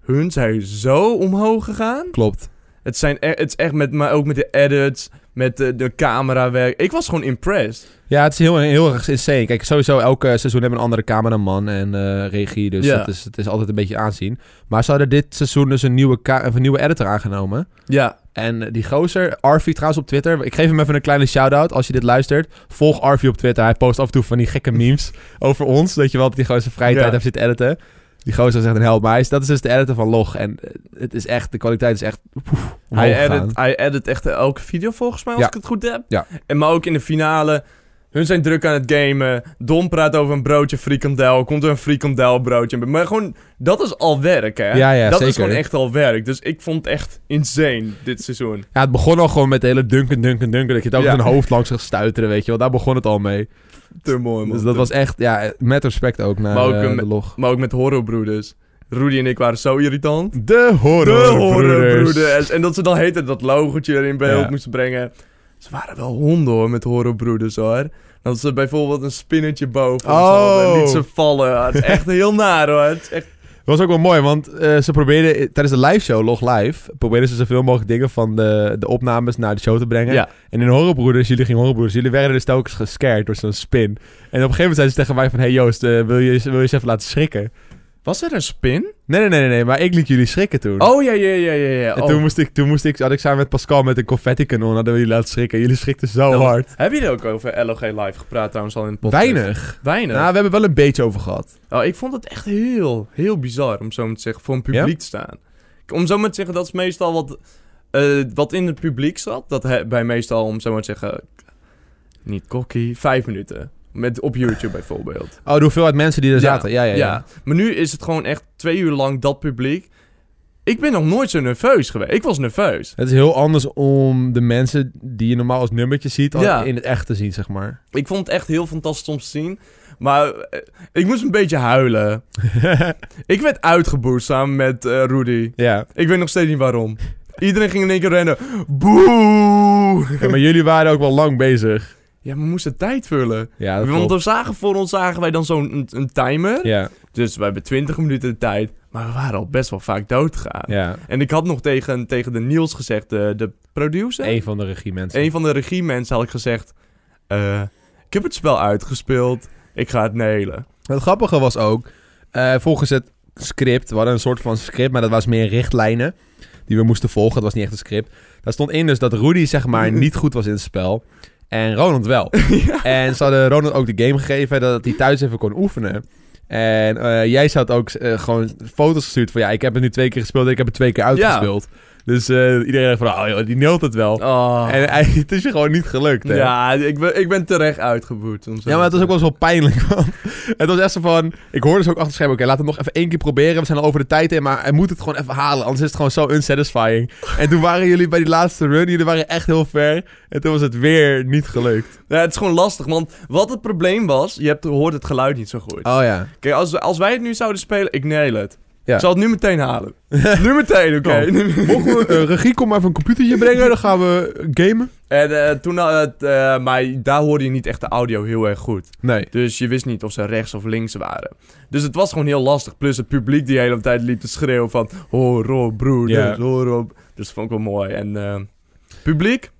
B: Hun zijn zo omhoog gegaan.
A: Klopt.
B: Het, zijn e- het is echt met, maar ook met de edits, met de, de camerawerk. Ik was gewoon impressed.
A: Ja, het is heel, heel erg insane. Kijk, sowieso elke seizoen hebben we een andere cameraman en eh, regie. Dus
B: Ja.
A: dat is, het is altijd een beetje aanzien. Maar ze hadden dit seizoen dus een nieuwe, ka- of een nieuwe editor aangenomen.
B: Ja,
A: En eh, die gozer, Arvi trouwens op Twitter. Ik geef hem even een kleine shout-out als je dit luistert. Volg Arvi op Twitter. Hij post af en toe van die gekke memes over ons. Weet je wel, dat hij gewoon zijn vrije
B: Ja.
A: tijd heeft zitten editen. Die gozer zegt een help. Maar hij is, dat is dus de editor van Log. En eh, het is echt, de kwaliteit is echt... poef, omhoog
B: Hij
A: gegaan.
B: edit, hij edit echt elke video volgens mij, als
A: Ja.
B: ik het goed heb.
A: Ja.
B: En maar ook in de finale. Hun zijn druk aan het gamen. Don praat over een broodje frikandel. Komt er een frikandelbroodje. Maar gewoon, dat is al werk, hè?
A: Ja, ja,
B: dat is
A: zeker.
B: gewoon echt al werk. Dus ik vond het echt insane dit seizoen.
A: Ja, het begon al gewoon met de hele dunken, dunken, dunken. Dat je het ook
B: Ja.
A: met een hoofd langs gaat stuiteren, weet je wel. Daar begon het al mee.
B: Te mooi, man.
A: Dus dat was echt, ja, met respect ook naar
B: Maar ook,
A: eh,
B: eh,
A: de log.
B: Maar ook met horrorbroeders. Rudy en ik waren zo irritant.
A: De
B: De
A: horrorbroeders.
B: horrorbroeders. En dat ze dan heten dat logotje erin beeld
A: Ja.
B: moesten brengen. Ze waren wel honden hoor, met horrorbroeders hoor. Dan had ze bijvoorbeeld een spinnetje boven. ons hadden En
A: Oh.
B: liet ze vallen. Het is echt heel naar hoor. Het is echt...
A: Dat was ook wel mooi, want eh, ze probeerden eh, tijdens de live show, Log Live, probeerden ze zoveel mogelijk dingen van de, de opnames naar de show te brengen.
B: Ja.
A: En in Horrorbroeders, jullie gingen Horrorbroeders, jullie werden dus telkens gescared door zo'n spin. En op een gegeven moment zeiden ze tegen mij van, hey Joost, eh, wil, je, wil je eens even laten schrikken?
B: Was er een spin?
A: Nee, nee, nee, nee, nee, maar ik liet jullie schrikken toen.
B: Oh ja, ja, ja, ja. ja.
A: En
B: Oh.
A: toen, moest ik, toen moest ik, had ik samen met Pascal met een confetti kanon, hadden we jullie laten schrikken. Jullie schrikten zo
B: Dat was-
A: hard.
B: Heb je er ook over LOG Live gepraat trouwens al in de podcast?
A: Weinig.
B: Weinig.
A: Nou, we hebben wel een beetje over gehad.
B: Oh, ik vond het echt heel, heel bizar om zo maar te zeggen, voor een
A: Ja?
B: publiek te staan. Om zo maar te zeggen, dat is meestal wat, eh, wat in het publiek zat. Dat he- bij meestal, om zo maar te zeggen, niet kokkie, vijf minuten. Met, op YouTube bijvoorbeeld.
A: Oh, de hoeveelheid mensen die er
B: Ja.
A: zaten. Ja, ja,
B: Ja,
A: ja.
B: Maar nu is het gewoon echt twee uur lang dat publiek. Ik ben nog nooit zo nerveus geweest. Ik was nerveus.
A: Het is heel anders om de mensen die je normaal als nummertje ziet, al
B: Ja.
A: in het echt te zien, zeg maar.
B: Ik vond het echt heel fantastisch om te zien. Maar eh, ik moest een beetje huilen. ik werd uitgeboet samen met eh, Rudy.
A: ja.
B: Ik weet nog steeds niet waarom. Iedereen ging in één keer rennen. Boe!
A: Ja, Maar jullie waren ook wel lang bezig.
B: Ja, we moesten tijd vullen.
A: Ja, dat
B: Want
A: klopt.
B: we zagen voor ons zagen wij dan zo'n een, een timer.
A: Ja,
B: Dus we hebben 20 minuten de tijd. Maar we waren al best wel vaak doodgegaan.
A: ja.
B: En ik had nog tegen, tegen de Niels gezegd, de, de producer.
A: Eén van de regiemensen.
B: Een van de regiemensen had ik gezegd... eh, ik heb het spel uitgespeeld. Ik ga het nelen.
A: Het grappige was ook, eh, volgens het script, we hadden een soort van script, maar dat was meer richtlijnen die we moesten volgen. Dat was niet echt een script. Daar stond in dus dat Rudy zeg maar niet goed was in het spel en Ronald wel. En ze hadden Ronald ook de game gegeven dat hij thuis even kon oefenen. En eh, jij had ook eh, gewoon foto's gestuurd van ja, ik heb het nu twee keer gespeeld en ik heb het twee keer uitgespeeld. Dus eh, iedereen dacht van, oh joh, die neelt het wel.
B: Oh.
A: En hij- het is je gewoon niet gelukt, hè?
B: ja, ik ben, ik ben terecht uitgeboet. om zo
A: Ja, maar het
B: te
A: was ook wel eens wel pijnlijk. Want het was echt zo van. Ik hoorde ze ook achter het scherm. Oké, laten we het nog even één keer proberen. We zijn al over de tijd heen. Maar hij moet het gewoon even halen. Anders is het gewoon zo unsatisfying. En toen waren jullie bij die laatste run. Jullie waren echt heel ver. En toen was het weer niet gelukt.
B: Ja, het is gewoon lastig, want wat het probleem was, je hebt, hoort het geluid niet zo goed.
A: Oh ja.
B: Kijk, als, we- als wij het nu zouden spelen, ik neel het.
A: Ja.
B: Ik zal het nu meteen halen. nu meteen, oké.
A: Kom. Mogen we, eh, regie, kom maar even een computertje brengen. Dan gaan we gamen.
B: en eh, toen had het, eh, maar daar hoorde je niet echt de audio heel erg goed.
A: Nee.
B: Dus je wist niet of ze rechts of links waren. Dus het was gewoon heel lastig. Plus het publiek die de hele tijd liep te schreeuwen van, horror broeders,
A: Ja.
B: horror. Dus dat vond ik wel mooi. En eh, publiek,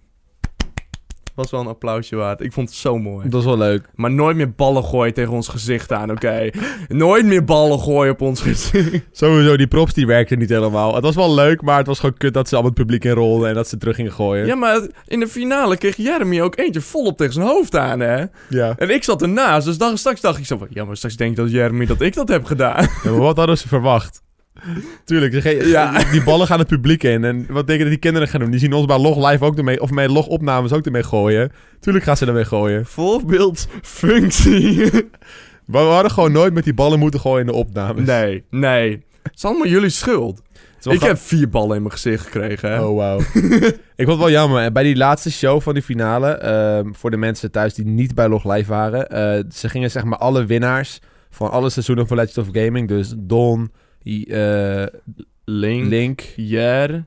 B: was wel een applausje waard. Ik vond het zo mooi.
A: Dat was wel leuk.
B: Maar nooit meer ballen gooien tegen ons gezicht aan, oké? nooit meer ballen gooien op ons gezicht.
A: Sowieso, die props die werkten niet helemaal. Het was wel leuk, maar het was gewoon kut dat ze allemaal het publiek inrolden en dat ze terug gingen gooien.
B: Ja, maar in de finale kreeg Jeremy ook eentje volop tegen zijn hoofd aan, hè?
A: ja.
B: En ik zat ernaast, dus dan, straks dacht ik zo van... Ja, maar straks denkt dat Jeremy dat ik dat heb gedaan.
A: Ja, maar wat hadden ze verwacht? Tuurlijk, ze ge-
B: Ja.
A: die ballen gaan het publiek in. En wat denk je dat die kinderen gaan doen? Die zien ons bij log live ook ermee, of bij log opnames ook ermee gooien. Tuurlijk gaan ze ermee gooien.
B: Voorbeeldfunctie.
A: Maar we hadden gewoon nooit met die ballen moeten gooien in de opnames.
B: nee, nee. Het is allemaal jullie schuld.
A: Het is wel
B: Ik
A: grap-
B: heb vier ballen in mijn gezicht gekregen, hè?
A: Oh, wow. ik vond het wel jammer. En bij die laatste show van die finale, ehm, voor de mensen thuis die niet bij Log Live waren, eh, ze gingen zeg maar alle winnaars van alle seizoenen van Legend of Gaming, dus Don, I- eh,
B: Link.
A: Link.
B: Jer.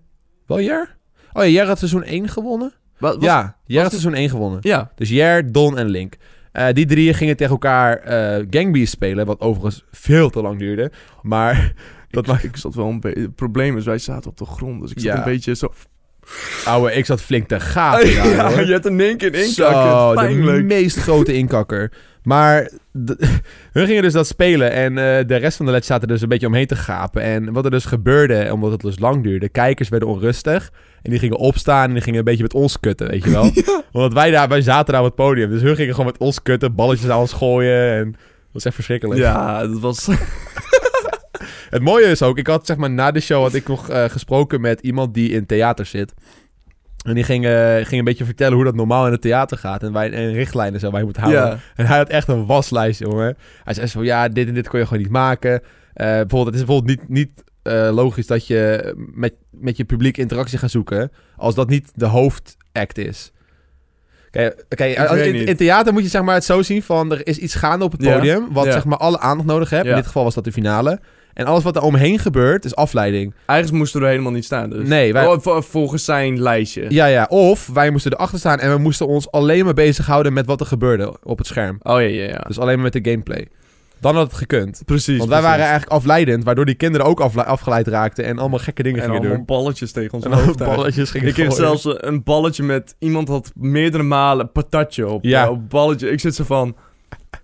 A: Wel Jer? Oh ja, Jer had seizoen 1 gewonnen?
B: Wat, wat-
A: ja, Jer had
B: dit-
A: seizoen 1 gewonnen.
B: Ja.
A: Dus Jer, Don en Link. Eh, die drieën gingen tegen elkaar eh Gangbeast spelen, wat overigens veel te lang duurde. Maar dat maakt...
B: Ik zat wel een beetje... Het probleem is, wij zaten op de grond, dus ik zat
A: Ja.
B: een beetje zo...
A: Ouwe, ik zat flink te gaten
B: Ah,
A: daar,
B: ja,
A: hoor.
B: je hebt een één keer
A: Zo,
B: inkakken.
A: de
B: Pijnlijk.
A: meest grote inkakker. Maar de- hun gingen dus dat spelen en eh, de rest van de led zaten dus een beetje omheen te gapen. En wat er dus gebeurde, omdat het dus lang duurde, kijkers werden onrustig. En die gingen opstaan en die gingen een beetje met ons kutten, weet je wel. Omdat wij daar, wij zaten daar op het podium. Dus hun gingen gewoon met ons kutten, balletjes aan ons gooien en... Dat was echt verschrikkelijk.
B: Ja, dat was...
A: Het mooie is ook, ik had zeg maar na de show had ik nog eh, gesproken met iemand die in theater zit. En die ging, eh, ging een beetje vertellen hoe dat normaal in het theater gaat. En, wij, en richtlijnen zo waar je moet houden.
B: Ja.
A: En hij had echt een waslijst, jongen. Hij zei zo, ja, dit en dit kon je gewoon niet maken. Eh, bijvoorbeeld, het is bijvoorbeeld niet, niet eh, logisch dat je met, met je publiek interactie gaat zoeken... als dat niet de hoofdact is. Kijk, kijk als-
B: weet
A: in,
B: niet.
A: in theater moet je zeg maar, het zo zien van... er is iets gaande op het
B: Ja.
A: podium... wat
B: Ja.
A: zeg maar alle aandacht nodig hebt.
B: Ja.
A: In dit geval was dat de finale. En alles wat er omheen gebeurt is afleiding.
B: Eigenlijk moesten we er helemaal niet staan. Dus.
A: Nee, wij-
B: Oh, vol- volgens zijn lijstje.
A: Ja, ja. Of wij moesten erachter staan... en we moesten ons alleen maar bezighouden met wat er gebeurde op het scherm.
B: Oh ja, ja, ja.
A: Dus alleen maar met de gameplay. Dan had het gekund.
B: Precies.
A: Want wij
B: precies.
A: waren eigenlijk afleidend, waardoor die kinderen ook afle- afgeleid raakten en allemaal gekke dingen
B: en
A: gingen
B: allemaal
A: doen.
B: balletjes tegen ons
A: En
B: hoofd.
A: allemaal balletjes gingen
B: Ik kreeg
A: gooien.
B: zelfs eh, een balletje met... Iemand had meerdere malen patatje op.
A: Ja.
B: Ja. op balletje. Ik zit zo van...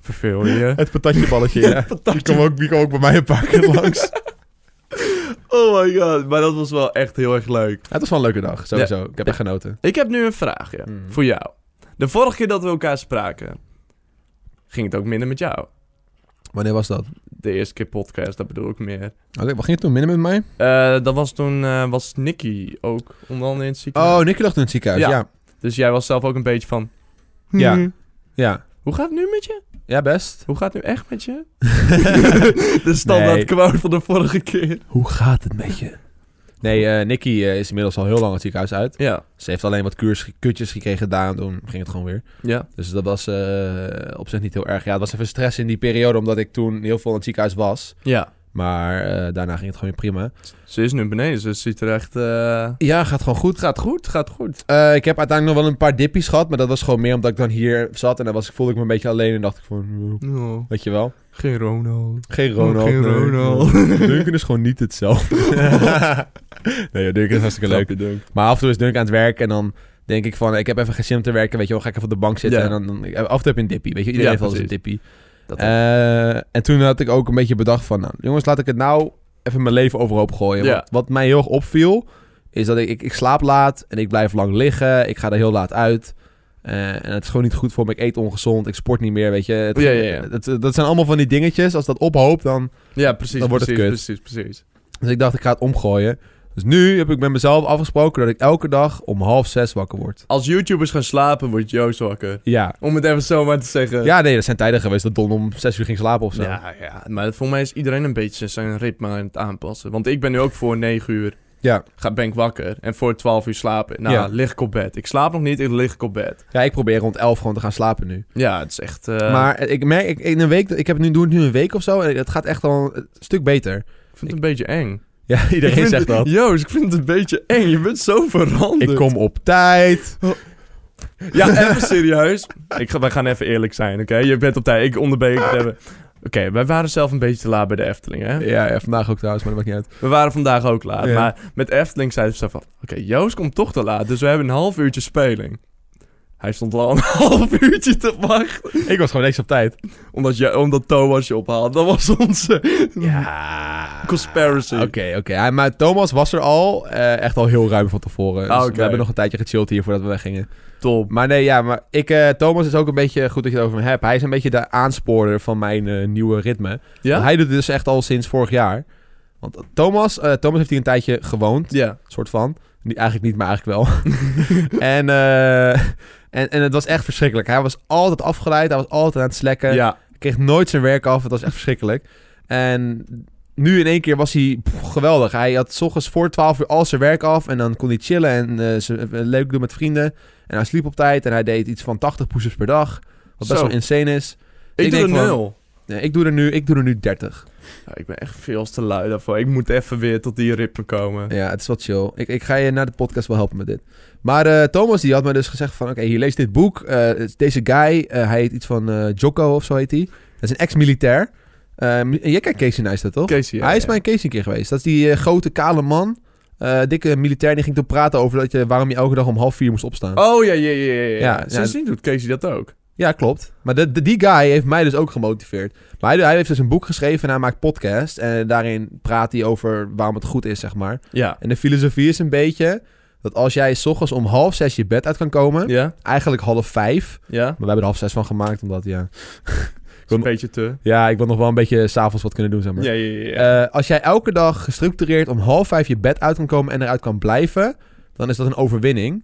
B: Verveel je?
A: Het patatjeballetje, ja. Die kwam, ook, die kwam ook bij mij een paar keer langs.
B: Oh my god. Maar dat was wel echt heel erg leuk.
A: het was wel een leuke dag, sowieso. Ik heb echt genoten.
B: Ik heb nu een vraagje
A: Mhm.
B: voor jou. De vorige keer dat we elkaar spraken... ging het ook minder met jou.
A: Wanneer was dat?
B: De eerste keer podcast, dat bedoel ik meer.
A: Wat ging het toen minder met mij?
B: Eh, dat was toen... eh, was Nicky ook onder andere in het ziekenhuis.
A: Oh, Nicky lag toen in het ziekenhuis, ja.
B: Ja.
A: Ja,
B: Dus jij was zelf ook een beetje van...
A: Ja.
B: "Hmm,
A: ja.
B: Hoe gaat het nu met je?
A: best.
B: Hoe gaat het nu echt met je? de standaard
A: Nee.
B: quote van de vorige keer.
A: Hoe gaat het met je? Nee, eh, Nicky eh, is inmiddels al heel lang het ziekenhuis uit.
B: Ja.
A: Ze heeft alleen wat kuurs, kutjes gekregen daar en toen ging het gewoon weer.
B: Ja.
A: Dus dat was eh, op zich niet heel erg. Ja, het was even stress in die periode, omdat ik toen heel veel in het ziekenhuis was.
B: Ja.
A: Maar eh, daarna ging het gewoon weer prima.
B: Ze is nu beneden, ze ziet er echt... eh,
A: Ja, gaat gewoon goed. Gaat
B: Goed, gaat goed.
A: Eh, ik heb uiteindelijk nog wel een paar dippies gehad, maar dat was gewoon meer omdat ik dan hier zat en dan was, voelde ik me een beetje alleen en dacht ik van, "Oeh."
B: No.
A: weet je wel.
B: Oh, Geen Ronald.
A: Geen Ronald.
B: Oh, Geen
A: nee.
B: Ronald.
A: Duncan is gewoon niet hetzelfde. nee, ja, Duncan is hartstikke leuk.
B: Dank.
A: Maar af en toe is Duncan aan het werk en dan denk ik van, ik heb even geen zin om te werken, weet je wel, ga ik even op de bank zitten
B: Ja.
A: en dan, dan- af en toe heb je een dippie, weet je, iedereen
B: Ja,
A: heeft wel eens een
B: precies.
A: dippie.
B: Dat
A: Eh, en toen had ik ook een beetje bedacht van, nou, jongens, laat ik het nou even mijn leven overhoop gooien.
B: Ja.
A: Want wat mij heel erg opviel, is dat ik, ik, ik slaap laat en ik blijf lang liggen. Ik ga er heel laat uit. Eh, en het is gewoon niet goed voor me. Ik eet ongezond, ik sport niet meer, weet je. Het-
B: Ja, ja, ja.
A: het- dat zijn allemaal van die dingetjes. Als dat ophoopt, dan...
B: ja, precies,
A: Dan wordt het
B: precies,
A: kut.
B: precies, precies.
A: Dus ik dacht, ik ga het omgooien. Dus nu heb ik met mezelf afgesproken dat ik elke dag om half zes wakker word.
B: Als YouTubers gaan slapen, wordt Joost wakker.
A: Ja.
B: Om het even zo maar te zeggen.
A: Ja, nee, dat zijn tijden geweest dat Don om zes uur ging slapen of zo.
B: ja, ja. Maar voor mij is iedereen een beetje zijn ritme aan het aanpassen. Want ik ben nu ook voor 9 uur.
A: Ja.
B: Ga, ben ik wakker. En voor 12 uur slapen. Nou,
A: Ja.
B: lig ik op bed. Ik slaap nog niet, ik lig ik op bed.
A: Ja, ik probeer rond elf gewoon te gaan slapen nu.
B: Ja, het is echt... eh,
A: Maar ik merk, ik, in een week, ik heb het nu, doe het nu een week of zo en het gaat echt al een stuk beter.
B: Ik vind het een beetje eng.
A: Ja,
B: Ik
A: iedereen
B: vind-
A: zegt dat.
B: Joost, ik vind het een beetje eng. Je bent zo veranderd.
A: Ik kom op tijd.
B: Ja, even serieus. Ik ga, wij gaan even eerlijk zijn, oké? Je bent op tijd. Ik onderbreek het hebben. Oké, wij waren zelf een beetje te laat bij de Efteling, hè?
A: Ja, ja, vandaag ook trouwens, maar dat maakt niet uit.
B: We waren vandaag ook laat.
A: Ja.
B: Maar met Efteling zeiden ze van... Oké, Joost komt toch te laat, dus we hebben een half uurtje speling. Hij stond al een half uurtje te wachten.
A: Ik was gewoon niks op tijd.
B: Omdat, je, omdat Thomas je ophaalt. Dat was onze...
A: Ja.
B: Conspiracy.
A: Oké, oké. Ja, maar Thomas was er al, eh, echt al heel ruim van tevoren. Dus
B: Ah, oké.
A: we hebben nog een tijdje gechilled hier voordat we weggingen.
B: Top.
A: Maar nee, ja, maar ik, eh, Thomas is ook een beetje, goed dat je het over hem hebt. Hij is een beetje de aansporer van mijn eh, nieuwe ritme.
B: Ja?
A: Hij doet het dus echt al sinds vorig jaar. Want Thomas, eh, Thomas heeft hier een tijdje gewoond.
B: Ja.
A: soort van. Die, eigenlijk niet, maar eigenlijk wel. en, eh, en, en het was echt verschrikkelijk. Hij was altijd afgeleid, hij was altijd aan het slekken.
B: Ja.
A: Hij kreeg nooit zijn werk af, het was echt verschrikkelijk. En nu in één keer was hij pff, geweldig. Hij had 's ochtends voor 12 uur al zijn werk af en dan kon hij chillen en eh, ze- eh, leuk doen met vrienden. En hij sliep op tijd en hij deed iets van 80 push-ups per dag. Wat best
B: Zo.
A: wel insane is.
B: Ik,
A: Ik
B: doe
A: denk
B: een
A: van-
B: nul.
A: Nee, ik, doe er nu, ik doe er nu 30.
B: Ja, ik ben echt veel te lui daarvoor. Ik moet even weer tot die ritme komen.
A: Ja, het is wat chill. Ik, ik ga je na de podcast wel helpen met dit. Maar eh, Thomas die had me dus gezegd van... Oké, hier lees dit boek. Eh, het is deze guy, eh, hij heet iets van eh, Jocko of zo heet hij. Dat is een ex-militair. Ehm, en jij kent Casey Neistat, toch?
B: Casey, ja,
A: hij is
B: ja.
A: mijn Casey een keer geweest. Dat is die eh, grote, kale man. eh, dikke militair. Die ging toen praten over dat je, waarom je elke dag om half vier moest opstaan.
B: Oh ja, ja, ja, ja. ja.
A: Ja, ja.
B: Sindsdien doet Casey dat ook.
A: Ja, klopt. Maar de, de- die guy heeft mij dus ook gemotiveerd. Maar hij, hij heeft dus een boek geschreven en hij maakt podcast. En daarin praat hij over waarom het goed is, zeg maar.
B: Ja.
A: En de filosofie is een beetje dat als jij 's ochtends om half zes je bed uit kan komen,
B: Ja?
A: eigenlijk half vijf, maar
B: Ja?
A: wij hebben er half zes van gemaakt, omdat ja,
B: is een beetje te.
A: Ja, ik wil nog wel een beetje s'avonds wat kunnen doen, zeg maar.
B: Ja, ja, ja. ja.
A: Eh, als jij elke dag gestructureerd om half vijf je bed uit kan komen en eruit kan blijven, dan is dat een overwinning.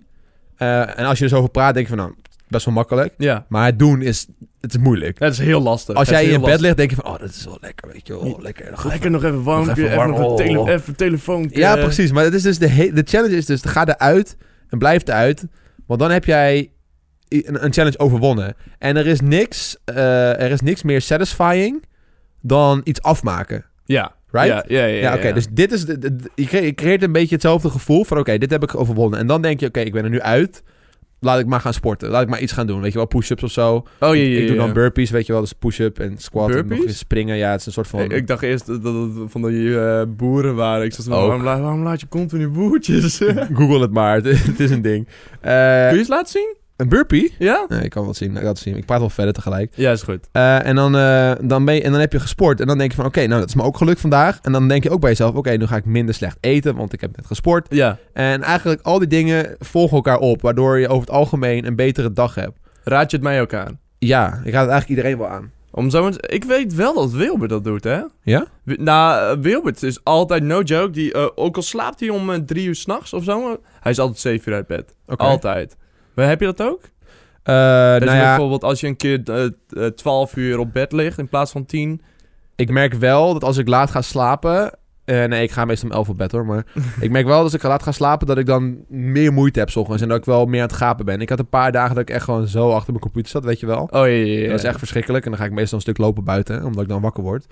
A: Eh, en als je er zo over praat, denk je van, nou, best wel makkelijk.
B: ja.
A: Maar het doen is, het is moeilijk.
B: Dat is heel lastig.
A: Als
B: Dat
A: jij
B: is
A: in
B: heel
A: je bed ligt,
B: lastig.
A: denk je van, oh, dat is wel lekker, weet je wel, Oh,
B: Ja.
A: lekker. Dan ga ik
B: Lekker nog even warm.
A: Nog
B: Even,
A: even
B: even,
A: warm,
B: een tele
A: oh.
B: even telefoon.
A: Ja, precies. Maar het is dus de, he- de challenge is dus, ga eruit en blijf eruit. Want dan heb jij i- een, een challenge overwonnen. En er is, niks, eh, er is niks meer satisfying dan iets afmaken.
B: Ja.
A: Right?
B: Ja, ja, ja.
A: Ja,
B: ja,
A: oké.
B: ja.
A: Dus dit is... de- de- de- je cre- je creëert een beetje hetzelfde gevoel van... Oké, dit heb ik overwonnen. En dan denk je, oké, ik ben er nu uit. Laat ik maar gaan sporten. Laat ik maar iets gaan doen. Weet je wel, push-ups of zo.
B: Oh, ja, ja,
A: ik doe dan
B: ja.
A: burpees, weet je wel. Dus push-up en squat en nog
B: Burpees?
A: eens springen. Ja, het is een soort van...
B: Ik, ik dacht eerst dat dat het van die eh, boeren waren. Ik zat zo van,
A: Ook.
B: waarom, laat- waarom laat je continu boertjes? Kun
A: Google het maar. Het, is een ding. Eh,
B: je eens laten zien?
A: een burpee?
B: Ja?
A: Nee, ik kan wel zien. Ik, kan het zien. ik praat wel verder tegelijk.
B: Ja, is goed.
A: Eh, en, dan, eh, dan ben je, en dan heb je gesport. En dan denk je van, oké, nou, dat is me ook gelukt vandaag. En dan denk je ook bij jezelf, oké, nu ga ik minder slecht eten, want ik heb net gesport.
B: Ja.
A: En eigenlijk al die dingen volgen elkaar op, waardoor je over het algemeen een betere dag hebt.
B: Raad je het mij ook aan?
A: Ja, ik raad het eigenlijk iedereen wel aan.
B: Om zo eens- ik weet wel dat Wilbert dat doet, hè?
A: Ja?
B: Wi- Nou, eh, Wilbert is altijd, no joke, die, eh, ook al slaapt hij om eh, drie uur s'nachts of zo, eh, hij is altijd zeven uur uit bed.
A: Oké.
B: Altijd. Dus Maar heb je dat ook?
A: Eh,
B: Dat
A: nou
B: je
A: ja,
B: bijvoorbeeld als je een keer eh, t- eh, 12 uur op bed ligt in plaats van 10.
A: ik merk wel dat als ik laat ga slapen... eh, nee, ik ga meestal om elf op bed hoor, maar... ik merk wel dat als ik laat ga slapen dat ik dan meer moeite heb 's ochtends. En dat ik wel meer aan het gapen ben. Ik had een paar dagen dat ik echt gewoon zo achter mijn computer zat, weet je wel.
B: Oh ja, ja, ja.
A: Dat is echt verschrikkelijk. En dan ga ik meestal een stuk lopen buiten, omdat ik dan wakker word.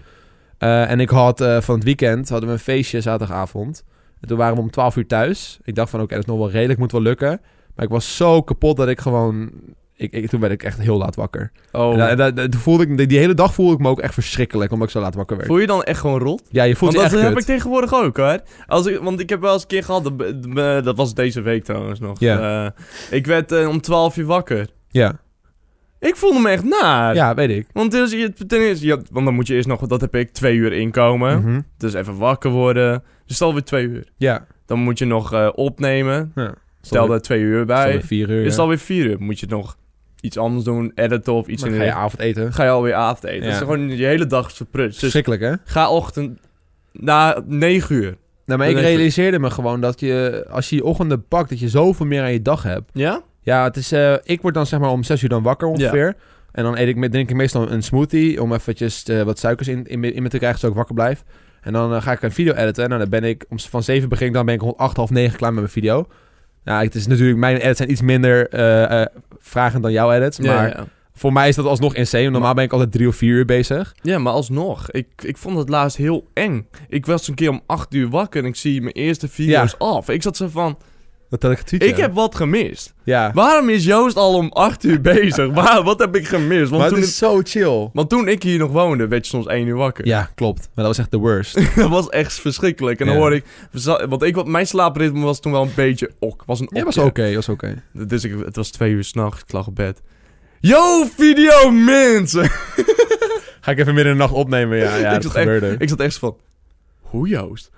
A: Eh, en ik had eh, van het weekend hadden we een feestje zaterdagavond. En toen waren we om 12 uur thuis. Ik dacht van oké, dat is nog wel redelijk, moet wel lukken. Maar ik was zo kapot dat ik gewoon. Ik, ik, toen werd ik echt heel laat wakker.
B: Oh.
A: En, da- da- da- toen voelde ik, die, die hele dag voelde ik me ook echt verschrikkelijk, omdat ik zo laat wakker werd.
B: Voel je dan echt gewoon rot?
A: Ja, je voelt
B: Want
A: je
B: dat
A: echt
B: heb
A: kut.
B: ik tegenwoordig ook hoor. Als ik, want ik heb wel eens een keer gehad, dat, be- be- dat was deze week trouwens nog.
A: Ja.
B: Eh, ik werd eh, om 12 uur wakker.
A: Ja.
B: Ik voelde me echt naar.
A: ja, weet ik.
B: Want, dus, je, ten eerste, je- want dan moet je eerst nog, dat heb ik, twee uur inkomen.
A: Mhm.
B: Dus even wakker worden. Dus stel weer twee uur.
A: Ja.
B: Dan moet je nog eh, opnemen. Stel
A: dat
B: daar twee uur bij.
A: bij 4 uur.
B: Is het
A: ja.
B: alweer vier uur? Moet je nog iets anders doen, editen of iets
A: Maar
B: in
A: ga
B: de
A: je avond eten.
B: Ga je alweer avond eten.
A: Ja.
B: Dat is gewoon je hele dag is verprutst. Dus
A: Verschrikkelijk, hè?
B: ga ochtend na negen uur.
A: Nou, maar
B: Dat
A: ik
B: denk ik.
A: realiseerde me gewoon dat je, als je je ochtenden pakt, dat je zoveel meer aan je dag hebt.
B: Ja?
A: Ja, het is, eh, ik word dan zeg maar om zes uur dan wakker ongeveer. En dan eet ik, me- drink ik meestal een smoothie om eventjes eh, wat suikers in, in, me- in me te krijgen, zodat ik wakker blijf. En dan eh, ga ik een video editen. Nou, dan ben ik, om, s- van zeven begin ik, dan ben ik rond acht, half negen klaar met mijn video. Nou, het is natuurlijk, mijn edits zijn iets minder eh, eh, vragend dan jouw edits.
B: Ja,
A: maar
B: ja.
A: voor mij is dat alsnog insane. want Normaal ben ik altijd drie of vier uur bezig.
B: ja, maar alsnog. Ik, ik vond het laatst heel eng. Ik was een keer om acht uur wakker en ik zie mijn eerste video's af. Ik zat zo van,
A: Dat had ik getweet.
B: ik heb wat gemist.
A: Ja,
B: Waarom is Joost al om acht uur bezig? Waar, wat heb ik gemist? Want,
A: maar het
B: toen,
A: is zo chill.
B: want toen ik hier nog woonde, werd je soms één uur wakker.
A: Ja, klopt. Maar dat was echt de worst.
B: dat was echt verschrikkelijk. En dan
A: Ja.
B: hoorde ik, want ik, mijn slaapritme was toen wel een beetje ok. Was een
A: Ja, was
B: okje.
A: oké, was oké.
B: Dus ik, het was twee uur s'nachts, ik lag op bed. Yo, video mensen!
A: Ga ik even midden in de nacht opnemen, ja. Ah, ja
B: Ik
A: dat
B: zat echt-
A: gebeurde.
B: ik zat echt zo van, hoe Joost?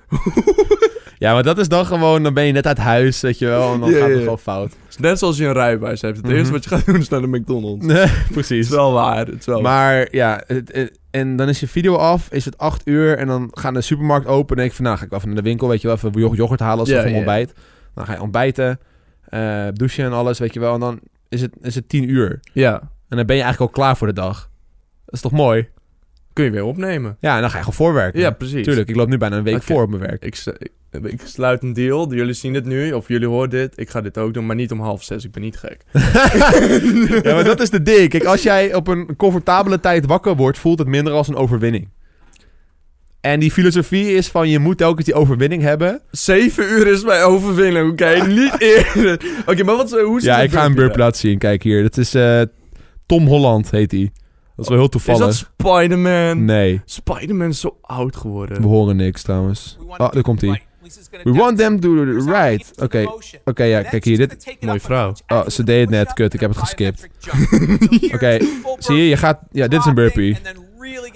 A: Ja, maar dat is dan gewoon, dan ben je net uit huis, weet je wel, en dan
B: Ja,
A: gaat
B: ja.
A: het gewoon fout.
B: Het is Net zoals je een rijbewijs hebt. Het
A: Mhm.
B: eerste wat je gaat doen is naar de McDonald's. Het
A: Precies.
B: is wel waar, het is wel waar.
A: Maar ja, het- het- en dan is je video af, is het acht uur en dan gaan de supermarkt open. En denk ik van, nou ga ik wel even naar de winkel, weet je wel, even jo- yoghurt halen als
B: Ja,
A: van
B: ja.
A: ontbijt. Dan ga je ontbijten, eh, douchen en alles, weet je wel. En dan is het, is het tien uur.
B: Ja,
A: En dan ben je eigenlijk al klaar voor de dag. Dat is toch mooi?
B: kun je weer opnemen.
A: Ja, en dan ga je gewoon voorwerken.
B: Ja, precies.
A: Tuurlijk, ik loop nu bijna een week
B: Oké.
A: voor op mijn werk.
B: Ik, s- ik, ik sluit een deal, jullie zien het nu, of jullie horen dit. Ik ga dit ook doen, maar niet om half zes, ik ben niet gek.
A: ja, maar dat is de ding. Kijk, als jij op een comfortabele tijd wakker wordt, voelt het minder als een overwinning. En die filosofie is van je moet telkens die overwinning hebben.
B: Zeven uur is mijn overwinning, oké? niet eerder. Oké, maar wat, eh, hoe zit
A: ja,
B: het
A: ik ga een
B: filmpje
A: burplaat zien. Kijk hier, dat is eh, Tom Holland heet hij. Dat is wel heel
B: daar? Is
A: toevallig.
B: dat Spider-Man?
A: Nee,
B: Spider-Man is zo oud geworden.
A: we horen niks trouwens. Oh, daar komt hij. We want them to do the right. Oké, oké, ja, kijk hier. Dit.
B: Mooie vrouw.
D: Oh, ze deed het net. Kut, ik heb het geskipt.
A: Oké, zie je, je gaat... Ja, dit is een burpee.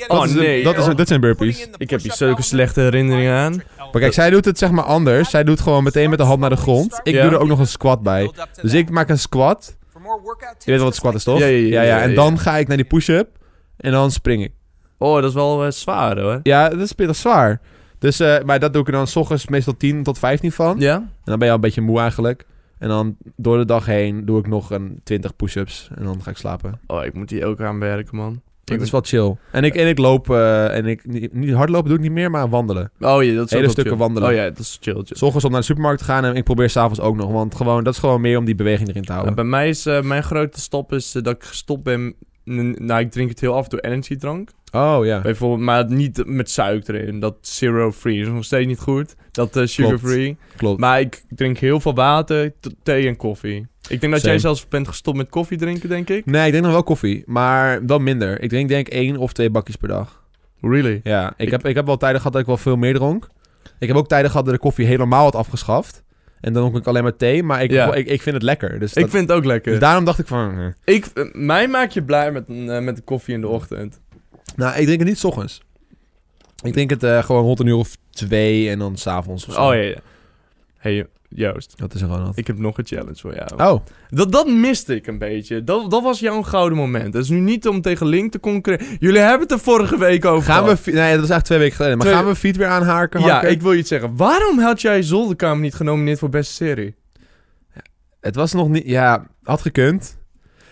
B: Oh,
A: dat is een-
B: nee,
A: dat, is
B: joh.
A: een, dat zijn burpees.
B: Ik heb hier zulke slechte herinneringen aan.
A: Maar kijk, zij doet het zeg maar anders. Zij doet gewoon meteen met de hand naar de grond. Ik
B: Ja.
A: doe er ook nog een squat bij. Dus ik maak een squat. Je weet wel wat squat is, toch?
B: Ja, ja, ja, ja,
A: En
B: ja.
A: dan ga ik naar die push-up. En en dan spring ik.
B: Oh, dat is wel eh, zwaar hoor.
A: Ja, dat is pittig zwaar. Dus, eh, maar dat doe ik er dan s ochtends meestal 10 tot 15 van.
B: Ja?
A: En dan ben je al een beetje moe eigenlijk. En dan door de dag heen doe ik nog een 20 push-ups. En dan ga ik slapen.
B: Oh, ik moet hier ook aan werken, man.
A: Dat
B: Ik
A: is wel chill. En ik, en ik loop, eh, en ik, niet- niet hardlopen doe ik niet meer, maar wandelen.
B: ben- Oh ja, dat is
A: Hele
B: ook wel
A: stukken
B: chill.
A: wandelen.
B: Oh ja, dat is chill. chill.
A: S ochtends om naar de supermarkt te gaan en ik probeer s'avonds ook nog. Want gewoon, dat is gewoon meer om die beweging erin te
B: Ja,
A: houden.
B: bij mij is eh, mijn grote stap is eh, dat ik gestopt ben. n- Nou, ik drink het heel af en toe energiedrank.
A: Oh ja.
B: Bijvoorbeeld, maar niet met suiker erin. Dat zero free is nog steeds niet goed. Dat eh, sugar
A: Klopt.
B: free.
A: Klopt.
B: Maar ik drink heel veel water, t- thee en koffie. Ik denk dat
A: Same.
B: jij zelfs bent gestopt met koffie drinken, denk ik.
A: Nee, ik drink nog wel koffie, maar wel minder. Ik drink denk één of twee bakjes per dag.
B: Really?
A: Ja, ik,
B: Ik-
A: Heb, ik heb wel tijden gehad dat ik wel veel meer dronk. Ik heb ook tijden gehad dat ik koffie helemaal had afgeschaft. En dan dronk ik alleen maar thee, maar ik,
B: Ja.
A: ik, ik vind het lekker. Dus,
B: Ik
A: dat-
B: vind het ook lekker.
A: dus daarom dacht ik van... eh.
B: ik, eh, mij maak je blij met, eh, met de koffie in de ochtend.
A: Nou, ik drink het niet s ochtends. Ik drink het eh, gewoon rond een uur of twee en dan s'avonds of zo.
B: Oh ja, ja. Hey Joost,
A: Dat is er gewoon wat.
B: ik heb nog een challenge voor jou.
A: Oh,
B: Dat, dat miste ik een beetje. Dat, dat was jouw gouden moment. Het is nu niet om tegen Link te concurreren. Jullie hebben het er vorige week over
A: gaan we...
B: gehad.
A: fi- Nee, dat is eigenlijk twee weken geleden. Maar
B: Twee-
A: gaan we Fiet weer aanhaken?
B: Ja,
A: harken?
B: ik wil je iets zeggen. Waarom had jij Zolderkamer niet genomineerd voor beste serie?
A: Het was nog niet... Ja, had gekund.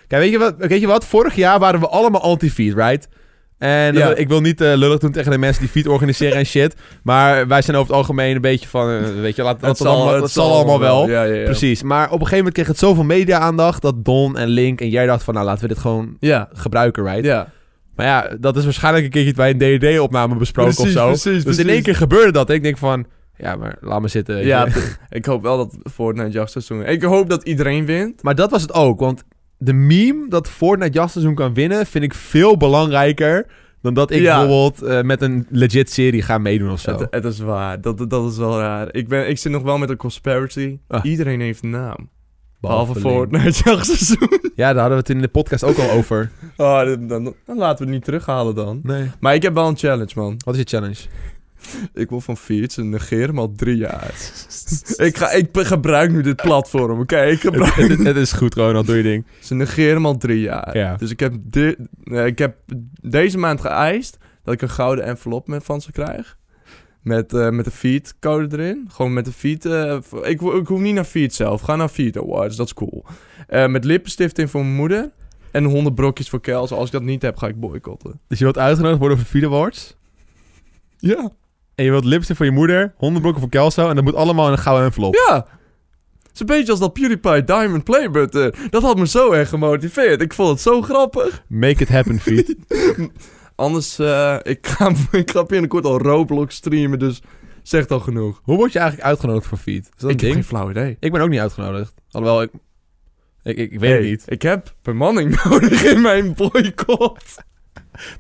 A: Kijk, weet je wat? Weet je wat? Vorig jaar waren we allemaal anti-feed, right? En dat-
B: Ja.
A: ik wil niet eh, lullig doen tegen de mensen die feed organiseren en shit. Maar wij zijn over het algemeen een beetje van... eh, weet je, laat, dat, allemaal, dat zal allemaal wel.
B: Ja, ja, ja.
A: Precies. Maar op een gegeven moment kreeg het zoveel media-aandacht... dat Don en Link en jij dacht van... nou, laten we dit gewoon
B: Ja,
A: gebruiken, right?
B: ja.
A: Maar ja, dat is waarschijnlijk een keertje bij een DD-opname besproken
B: Precies,
A: of zo.
B: precies,
A: dus in
B: precies.
A: één keer gebeurde dat. En ik denk van... Ja, maar laat me zitten. weet
B: Ja,
A: je.
B: ik hoop wel dat Fortnite jachtseizoen... Ik hoop dat iedereen wint.
A: Maar dat was het ook. Want de meme dat Fortnite jachtseizoen kan winnen... vind ik veel belangrijker... dan dat ik
B: Ja.
A: bijvoorbeeld eh, met een legit serie ga meedoen of zo.
B: Het, het is waar. Dat, dat- dat is wel raar. Ik, ben, ik zit nog wel met een conspiracy.
A: Ah.
B: Iedereen heeft een naam.
A: Behalve
B: Behalve
A: Link.
B: Fortnite jachtseizoen.
A: Ja, daar hadden we het in de podcast ook al over.
B: Oh, dan, dan, dan laten we het niet terughalen dan.
A: Nee.
B: Maar ik heb wel een challenge, man.
A: Wat is je challenge?
B: Ik wil van Fiets en negeer hem al drie jaar. ik, ga, ik be- gebruik nu dit platform, oké? Ik gebruik...
A: het, het- het is goed, Ronald. Doe je ding.
B: Ze negeren hem al drie jaar.
A: Ja.
B: Dus ik heb, di- eh, ik heb deze maand geëist dat ik een gouden envelop met, van ze krijg. Met, eh met de feed code erin. Gewoon met de feed. eh, v- ik, ho- ik hoef niet naar feed zelf. Ga naar feed awards, dat is cool. Eh, met lippenstift in voor mijn moeder. En 100 brokjes voor Kels. Als ik dat niet heb, ga ik boycotten.
A: Dus je wilt uitgenodigd worden voor Feed Awards...
B: Ja.
A: en je wilt lipstick voor je moeder... 100 blokken voor Kelso... en dat moet allemaal in een gouden envelop.
B: Ja. Het is een beetje als dat PewDiePie Diamond Playbutton. Dat had me zo erg gemotiveerd. Ik vond het zo grappig.
A: Make it happen, Feed.
B: Anders, eh, ik, ga, ik ga binnenkort al Roblox streamen, dus zegt al genoeg.
A: Hoe word je eigenlijk uitgenodigd voor Feed? Is dat een
B: ik heb
A: ding?
B: geen flauw idee.
A: Ik ben ook niet uitgenodigd. Alhoewel, ik... Ik, ik, ik weet het
B: Hey,
A: niet.
B: Ik heb bemanning nodig in mijn boycott.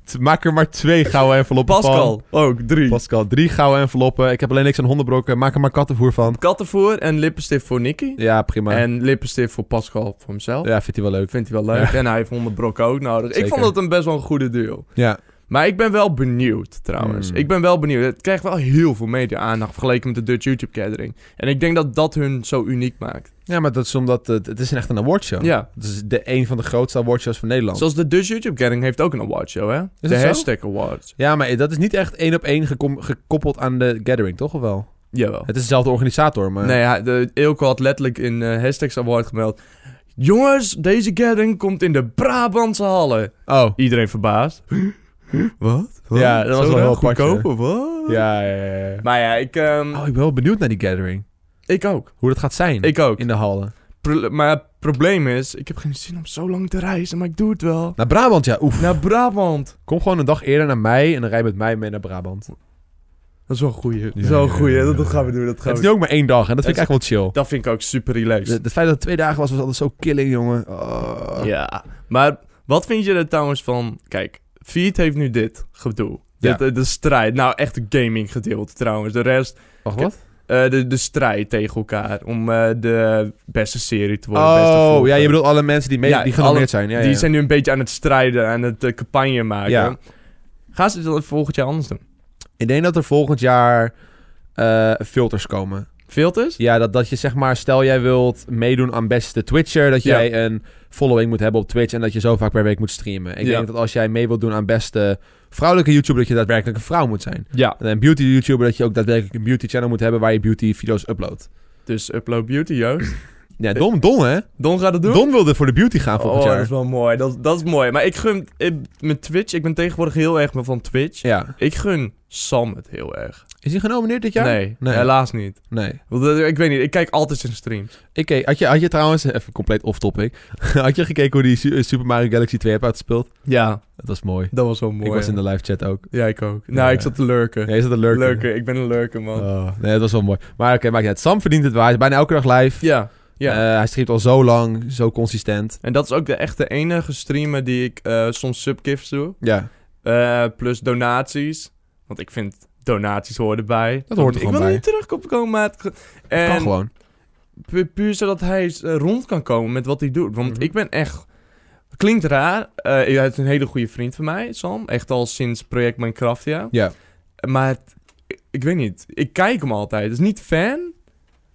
A: T- Maak er maar twee gouden enveloppen
B: Pascal, ook drie.
A: van. Pascal, drie gouden enveloppen. Ik heb alleen niks aan hondenbrokken. Maak er maar kattenvoer van.
B: Kattenvoer en lippenstift voor Nicky.
A: Ja, prima.
B: En lippenstift voor Pascal, voor hemzelf.
A: Ja, vindt hij wel leuk.
B: Vindt hij wel leuk. En hij heeft 100 brokken ook nodig. Ik
A: Zeker.
B: vond het een best wel een goede deal.
A: Ja.
B: Maar ik ben wel benieuwd trouwens.
A: Hmm.
B: Ik ben wel benieuwd. Het krijgt wel heel veel media-aandacht vergeleken met de Dutch YouTube Gathering. En ik denk dat dat hun zo uniek maakt.
A: ja, maar dat is omdat het, het is echt een awardshow.
B: Ja.
A: Het is de, een van de grootste awardshows van Nederland.
B: Zoals de Dutch YouTube Gathering heeft ook een awardshow, hè?
A: het
B: de
A: zo?
B: hashtag awards.
A: Ja, maar dat is niet echt één op één gekom- gekoppeld aan de gathering, toch? Of wel?
B: Jawel.
A: Het is dezelfde organisator, maar...
B: Nee, hij- de, Eelco had letterlijk in eh hashtags award gemeld. Jongens, deze gathering komt in de Brabantse Hallen.
A: Oh.
B: Iedereen verbaasd. Wat? Wat?
A: Ja, dat was
B: Zo
A: wel
B: dan?
A: heel apart,
B: Goedkoop of wat?
A: Ja, ja, ja, ja.
B: Maar ja, ik, ehm,
A: Oh, ik ben wel benieuwd naar die gathering.
B: ik ook.
A: Hoe dat gaat zijn.
B: Ik ook.
A: In de hallen.
B: Pro- maar het probleem is, ik heb geen zin om zo lang te reizen, maar ik doe het wel.
A: Naar Brabant, ja. Oef.
B: Naar Brabant.
A: Kom gewoon een dag eerder naar mij en dan rij je met mij mee naar Brabant.
B: Dat is wel een goeie. Dat is
A: Ja,
B: wel een
A: ja,
B: goeie.
A: ja,
B: Dat,
A: ja.
B: dat gaan we doen. Dat,
A: Het
B: gaan we
A: is nu ook maar één dag en dat vind ik
B: Het
A: echt wel chill.
B: doen. dat vind ik ook super relaxed.
A: Het het feit dat het twee dagen was, was altijd zo killing, jongen. Oh.
B: Ja. Maar wat vind je er trouwens van... Kijk, Feed heeft nu dit gedoe.
A: Ja.
B: Dit, eh, de strijd. Nou, echt de gaming gedeelte trouwens. De rest...
A: Wacht, wat?
B: eh, de, de strijd tegen elkaar om eh, de beste serie te worden. beste
A: Oh,
B: volger.
A: ja, je bedoelt alle mensen die, mee,
B: Ja,
A: die genomineerd zijn. Ja,
B: Die
A: ja.
B: zijn nu een beetje aan het strijden, aan het eh, campagne maken.
A: Ja.
B: Gaan ze dat volgend jaar anders doen?
A: Ik denk dat er volgend jaar eh, filters komen.
B: Filters?
A: Ja, dat, dat je zeg maar, stel jij wilt meedoen aan beste Twitcher, dat
B: Ja.
A: jij een following moet hebben op Twitch en dat je zo vaak per week moet streamen. Ik
B: Ja.
A: denk dat als jij mee wilt doen aan beste vrouwelijke YouTuber, dat je daadwerkelijk een vrouw moet zijn.
B: Ja.
A: En een beauty YouTuber, dat je ook daadwerkelijk een beauty channel moet hebben waar je beauty video's uploadt.
B: Dus Upload Beauty, Joost.
A: Ja, Don, Don hè?
B: Don gaat het doen?
A: Don wilde voor de beauty gaan volgend
B: oh, dat
A: jaar.
B: is wel mooi. Dat, dat is mooi. Maar ik gun... Ik, met Twitch, ik ben tegenwoordig heel erg van Twitch.
A: Ja.
B: Ik gun Sam het heel erg.
A: Is hij genomineerd dit jaar?
B: Nee,
A: Nee.
B: helaas niet.
A: Nee.
B: Want, dat- ik weet niet, ik kijk altijd zijn streams.
A: Ik keek, had, je, had je trouwens, even compleet off-topic, had je gekeken hoe die Su- eh, Super Mario Galaxy 2 app uitspeelt?
B: Ja,
A: Dat was mooi.
B: dat was wel mooi.
A: Ik was in de live chat ook.
B: Ja, ik ook.
A: Ja.
B: Nou, ik zat te lurken.
A: Nee, is dat een lurker?
B: lurken. ik ben een lurker, man.
A: Oh, nee, dat was wel mooi. Maar oké, maakt niet uit. Sam verdient het waar. Hij is bijna elke dag live.
B: Ja, ja.
A: Eh, hij streamt al zo lang, zo consistent.
B: En dat is ook de echte enige streamer die ik eh, soms subgifts doe.
A: Ja.
B: Eh, plus donaties. Want ik vind donaties horen erbij.
A: Dat hoort er
B: Ik
A: gewoon
B: wil
A: bij.
B: niet terugkomen, maat. En
A: kan gewoon.
B: pu- puur zodat hij eh, rond kan komen met wat hij doet. Want
A: Mhm.
B: ik ben echt... Klinkt raar. Eh, hij is een hele goede vriend van mij, Sam. Echt al sinds project Minecraftia.
A: Ja.
B: Maar het- ik, ik weet niet. Ik kijk hem altijd. Het is niet fan.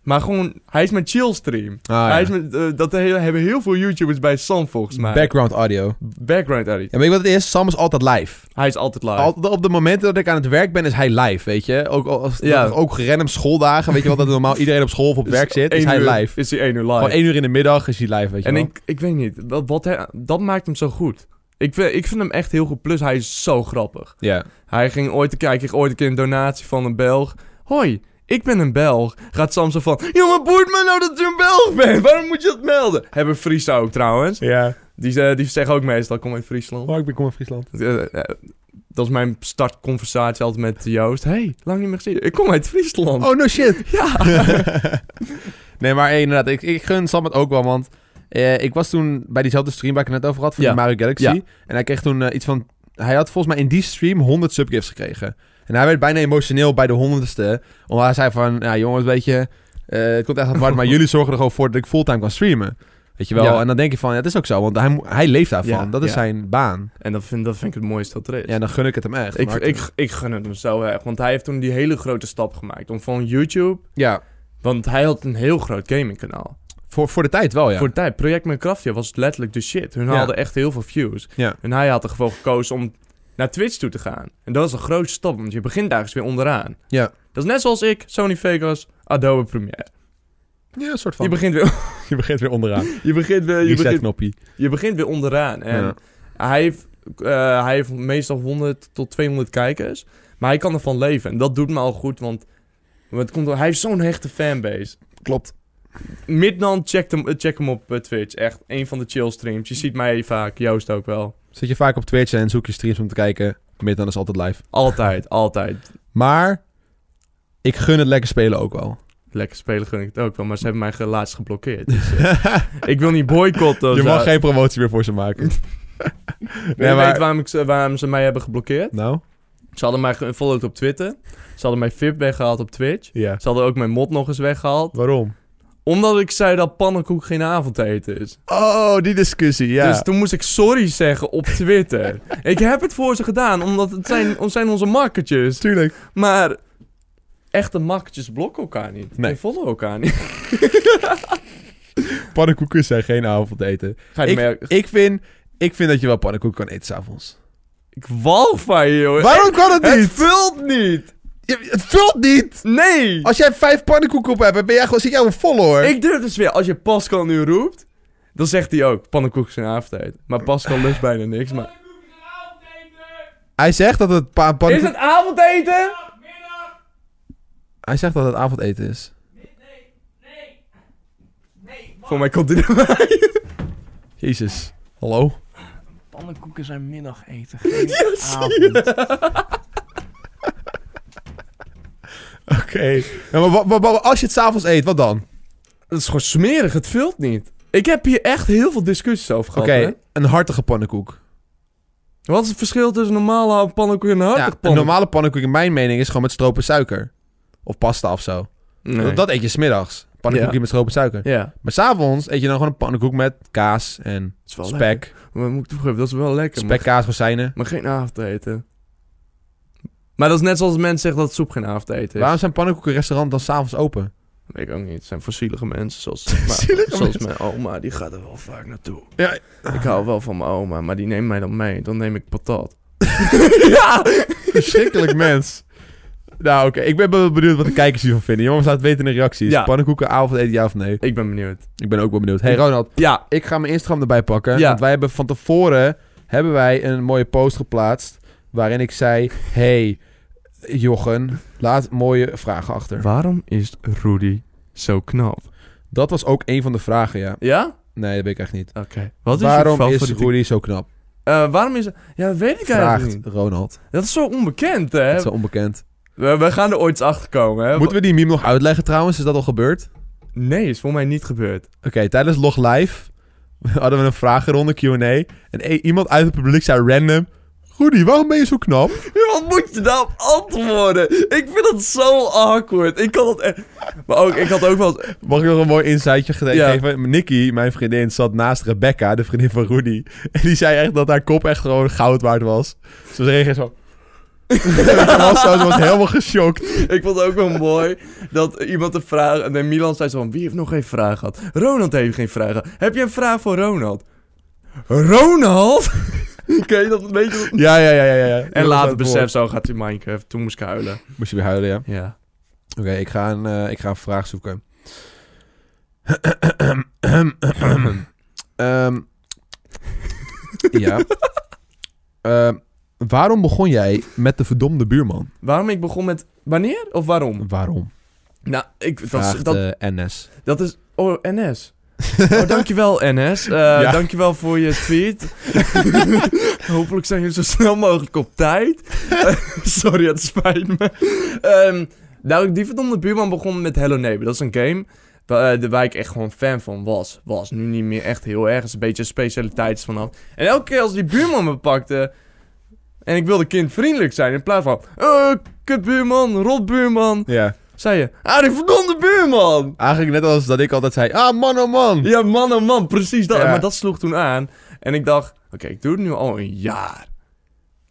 B: Maar gewoon... Hij is mijn chill stream.
A: Ah,
B: hij
A: ja.
B: is met, eh, dat he- hebben heel veel YouTubers bij Sam volgens mij.
A: Background audio.
B: Background edit.
A: Ja, weet je wat het is? Sam is altijd live.
B: Hij is altijd live.
A: Al- op de momenten dat ik aan het werk ben, is hij live, weet je? Ook, al- als,
B: Ja.
A: dat- ook random schooldagen, weet je wel, dat normaal iedereen op school of op
B: Dus
A: werk zit, is
B: één
A: hij
B: uur
A: live.
B: Is hij één uur live.
A: Gewoon één uur in de middag is hij live, weet je
B: en
A: wel.
B: ik, ik weet niet, wat, wat hij- dat maakt hem zo goed. Ik vind, ik vind hem echt heel goed. Plus, hij is zo grappig.
A: Ja.
B: Hij ging ooit, een keer- hij kreeg ooit een keer een donatie van een Belg. Hoi, ik ben een Belg. Gaat Sam zo van, ja, maar boeit me nou dat je een Belg bent? Waarom moet je dat melden? Hebben Friesen ook trouwens.
A: Ja. Oh,
B: Die, ze- die zeggen ook meestal, kom uit Friesland.
A: ik ben kom uit Friesland.
B: Eh, eh, Dat is mijn startconversatie altijd met Joost. hey, lang niet meer gezien. Ik kom uit Friesland.
A: Oh, no shit.
B: Ja.
A: nee, maar eh, inderdaad, ik, ik gun Sam het ook wel, want eh, ik was toen bij diezelfde stream waar ik het net over had, van
B: Ja.
A: de Mario Galaxy.
B: Ja.
A: En hij kreeg toen eh, iets van, hij had volgens mij in die stream 100 subgifts gekregen. En hij werd bijna emotioneel bij de honderdste, omdat hij zei van, ja jongens, weet je, eh, het komt echt apart, maar jullie zorgen er gewoon voor dat ik fulltime kan streamen. Weet je wel,
B: Ja.
A: en dan denk je van, ja, het is ook zo, want hij, mo- hij leeft daarvan.
B: Ja,
A: dat is
B: ja.
A: zijn baan.
B: En dat vind, dat vind ik het mooiste dat er is.
A: Ja, dan gun ik het hem echt.
B: ik,
A: Maar-
B: ik, ik gun het hem zo erg. Want hij heeft toen die hele grote stap gemaakt. Om van YouTube...
A: ja,
B: Want hij had een heel groot gamingkanaal.
A: voor, voor de tijd wel, ja.
B: Voor de tijd. Project Minecraftje was letterlijk de shit. Hun
A: Ja.
B: haalden echt heel veel views.
A: Ja.
B: En hij had er gewoon gekozen om naar Twitch toe te gaan. En dat is een grote stap. Want je begint ergens weer onderaan.
A: Ja.
B: Dat is net zoals ik, Sony Vegas, Adobe Premiere.
A: ja, een soort van.
B: Je begint weer...
A: je begint weer onderaan.
B: Je begint weer... Je begint,
A: Reset-knoppie.
B: je begint weer onderaan. En
A: Ja.
B: hij, heeft, eh, hij heeft meestal 100 tot 200 kijkers. Maar hij kan ervan leven. En dat doet me al goed, want want het komt, door- hij heeft zo'n hechte fanbase.
A: Klopt.
B: Midnan, check hem, eh, check hem op eh, Twitch. Echt, een van de chill streams. Je ziet mij vaak, Joost ook wel.
A: Zit je vaak op Twitch en zoek je streams om te kijken. Midden is altijd live.
B: Altijd, altijd.
A: Maar ik gun het lekker spelen ook wel.
B: Lekker spelen gun ik het ook wel, maar ze hebben mij ge- laatst geblokkeerd. Dus, eh, ik wil niet boycotten. of
A: je
B: zo.
A: mag geen promotie meer voor ze maken.
B: Wil je
A: Nee, maar-
B: weten waarom, ik ze, waarom ze mij hebben geblokkeerd?
A: nou?
B: Ze hadden mij gefollowed op Twitter. Ze hadden mijn VIP weggehaald op Twitch.
A: Ja.
B: Ze hadden ook mijn mod nog eens weggehaald.
A: Waarom?
B: Omdat ik zei dat pannenkoek geen avondeten is.
A: Oh, die discussie, ja.
B: Dus toen moest ik sorry zeggen op Twitter. ik heb het voor ze gedaan, omdat het zijn, het zijn onze makkertjes.
A: Tuurlijk.
B: Maar echte makkertjes blokken elkaar niet.
A: Nee.
B: Nee. volgen elkaar niet.
A: Pannenkoeken zijn geen avondeten.
B: Ga je
A: Ik,
B: merken.
A: ik, vind, ik vind dat je wel pannenkoeken kan eten s'avonds.
B: Ik wal van je, joh.
A: Waarom kan Eh, het
B: Het
A: niet?
B: vult niet.
A: Je- Het vult niet!
B: Nee.
A: Als jij vijf pannenkoeken op hebt, ben jij gewoon, zit jij een follower.
B: Ik durf dus weer, als je Pascal nu roept, dan zegt hij ook, pannenkoeken zijn avondeten. Maar Pascal lust bijna niks, maar...
A: Hij zegt dat het pa-
B: Is
A: pannenkoek...
B: het avondeten?
A: Hij zegt dat het avondeten is.
B: Voor mij komt dit erbij.
A: Jezus. Hallo?
C: Pannenkoeken zijn middageten. Geen
A: Oké. Ja, maar wa- wa- wa- als je het s'avonds eet, wat dan?
B: Dat is gewoon smerig, het vult niet. Ik heb hier echt heel veel discussies over
A: Oké,
B: gehad. hè.
A: een hartige pannenkoek.
B: Wat is het verschil tussen normale pannenkoek en een hartig
A: Ja, een normale pannenkoek in mijn mening is gewoon met stroop en suiker. Of pasta of zo. Dat, dat eet je smiddags. Pannenkoekje
B: Ja.
A: met stroop en suiker.
B: Ja, het
A: Maar s'avonds eet je dan gewoon een pannenkoek met kaas en
B: is wel lekker.
A: spek.
B: Maar moet ik toegeven, dat is wel lekker.
A: Spek,
B: Maar,
A: kaas, rozijnen.
B: maar geen avondeten. Maar dat is net zoals mensen zeggen dat soep geen avondeten is.
A: Waarom zijn pannenkoekenrestaurants dan s'avonds open?
B: Weet ik ook niet. Het zijn fossielige mensen. Zoals, maar,
A: Zielige
B: zoals
A: mensen.
B: mijn oma, die gaat er wel vaak naartoe.
A: Ja.
B: Ik hou wel van mijn oma, maar die neemt mij dan mee. Dan neem ik patat.
A: Verschrikkelijk mens. Nou, oké. Ik ben wel benieuwd wat de kijkers hiervan vinden. Jongens, laat het weten in de reacties.
B: Ja.
A: Pannenkoeken, avond eten, ja of nee?
B: Ik ben benieuwd.
A: Ik ben ook wel benieuwd. Hey Ronald,
B: Ja,
A: ik ga mijn Instagram erbij pakken.
B: Ja.
A: Want wij hebben van tevoren hebben wij een mooie post geplaatst. Waarin ik zei: Hey, Jochen, laat mooie vragen achter.
B: waarom is Rudy zo knap?
A: Dat was ook een van de vragen, ja.
B: Ja?
A: Nee, dat weet ik echt niet.
B: Oké. Wat is
A: waarom
B: je
A: is
B: favoriete...
A: Rudy zo knap?
B: Eh, waarom is... Ja, dat weet ik eigenlijk
A: Vraagt
B: niet. Eh,
A: Ronald.
B: Dat is zo onbekend, hè?
A: Dat is wel onbekend.
B: We, we gaan er ooit eens achter komen, hè?
A: Moeten we die meme nog uitleggen trouwens? Is dat al gebeurd?
B: Nee, is volgens mij niet gebeurd.
A: Oké, tijdens Log Live hadden we een vragenronde, Q&A. En e- iemand uit het publiek zei random... Rudy, waarom ben je zo knap?
B: Wat moet je daarop antwoorden? Ik vind dat zo awkward. Ik kan dat echt... Maar ook, ik had ook wel... eens-
A: Mag ik nog een mooi insightje ge-
B: Ja.
A: geven? Nikki, mijn vriendin, zat naast Rebecca, de vriendin van Rudy. En die zei echt dat haar kop echt gewoon goud waard was. Ze reageerde zo... ze, was zo ze was helemaal geschokt.
B: Ik vond het ook wel mooi dat iemand een vraag... Nee, Milan zei zo van... Wie heeft nog geen vraag gehad? Ronald heeft geen vraag gehad. Heb je een vraag voor Ronald? Ronald? Ken je dat een beetje?
A: Ja, ja, ja, ja. ja.
B: En later besef,
A: beseft.
B: zo gaat hij Minecraft. Toen moest ik huilen.
A: Moest je weer huilen, ja.
B: Ja.
A: Oké, ik, ga een, eh, ik ga een vraag zoeken. Ehm, ja. Ehm, waarom begon jij met de verdomde buurman?
B: Waarom ik begon met... Wanneer? Of waarom?
A: Waarom?
B: Nou, ik... Dat, is-
A: Vraagt
B: dat,
A: eh, NS.
B: Dat is... Oh, NS. Oh, dankjewel NS. Eh
A: Ja.
B: Dankjewel voor je tweet. Hopelijk zijn jullie zo snel mogelijk op tijd. Eh, sorry, het spijt me. Ehm nou, die verdomde buurman begon met Hello Neighbor. Dat is een game wa- eh, de- waar ik echt gewoon fan van was. Was nu niet meer echt heel erg. Is een beetje een specialiteit vanaf. En elke keer als die buurman me pakte... En ik wilde kindvriendelijk zijn in plaats van... eh kutbuurman, rotbuurman.
A: Ja.
B: Zei je... Ah, die verdomde buurman!
A: Eigenlijk net als dat ik altijd zei... Ah, man, oh man!
B: Ja, man, oh man, precies dat.
A: Ja.
B: Maar dat sloeg toen aan. En ik dacht, oké, ik doe het nu al een jaar.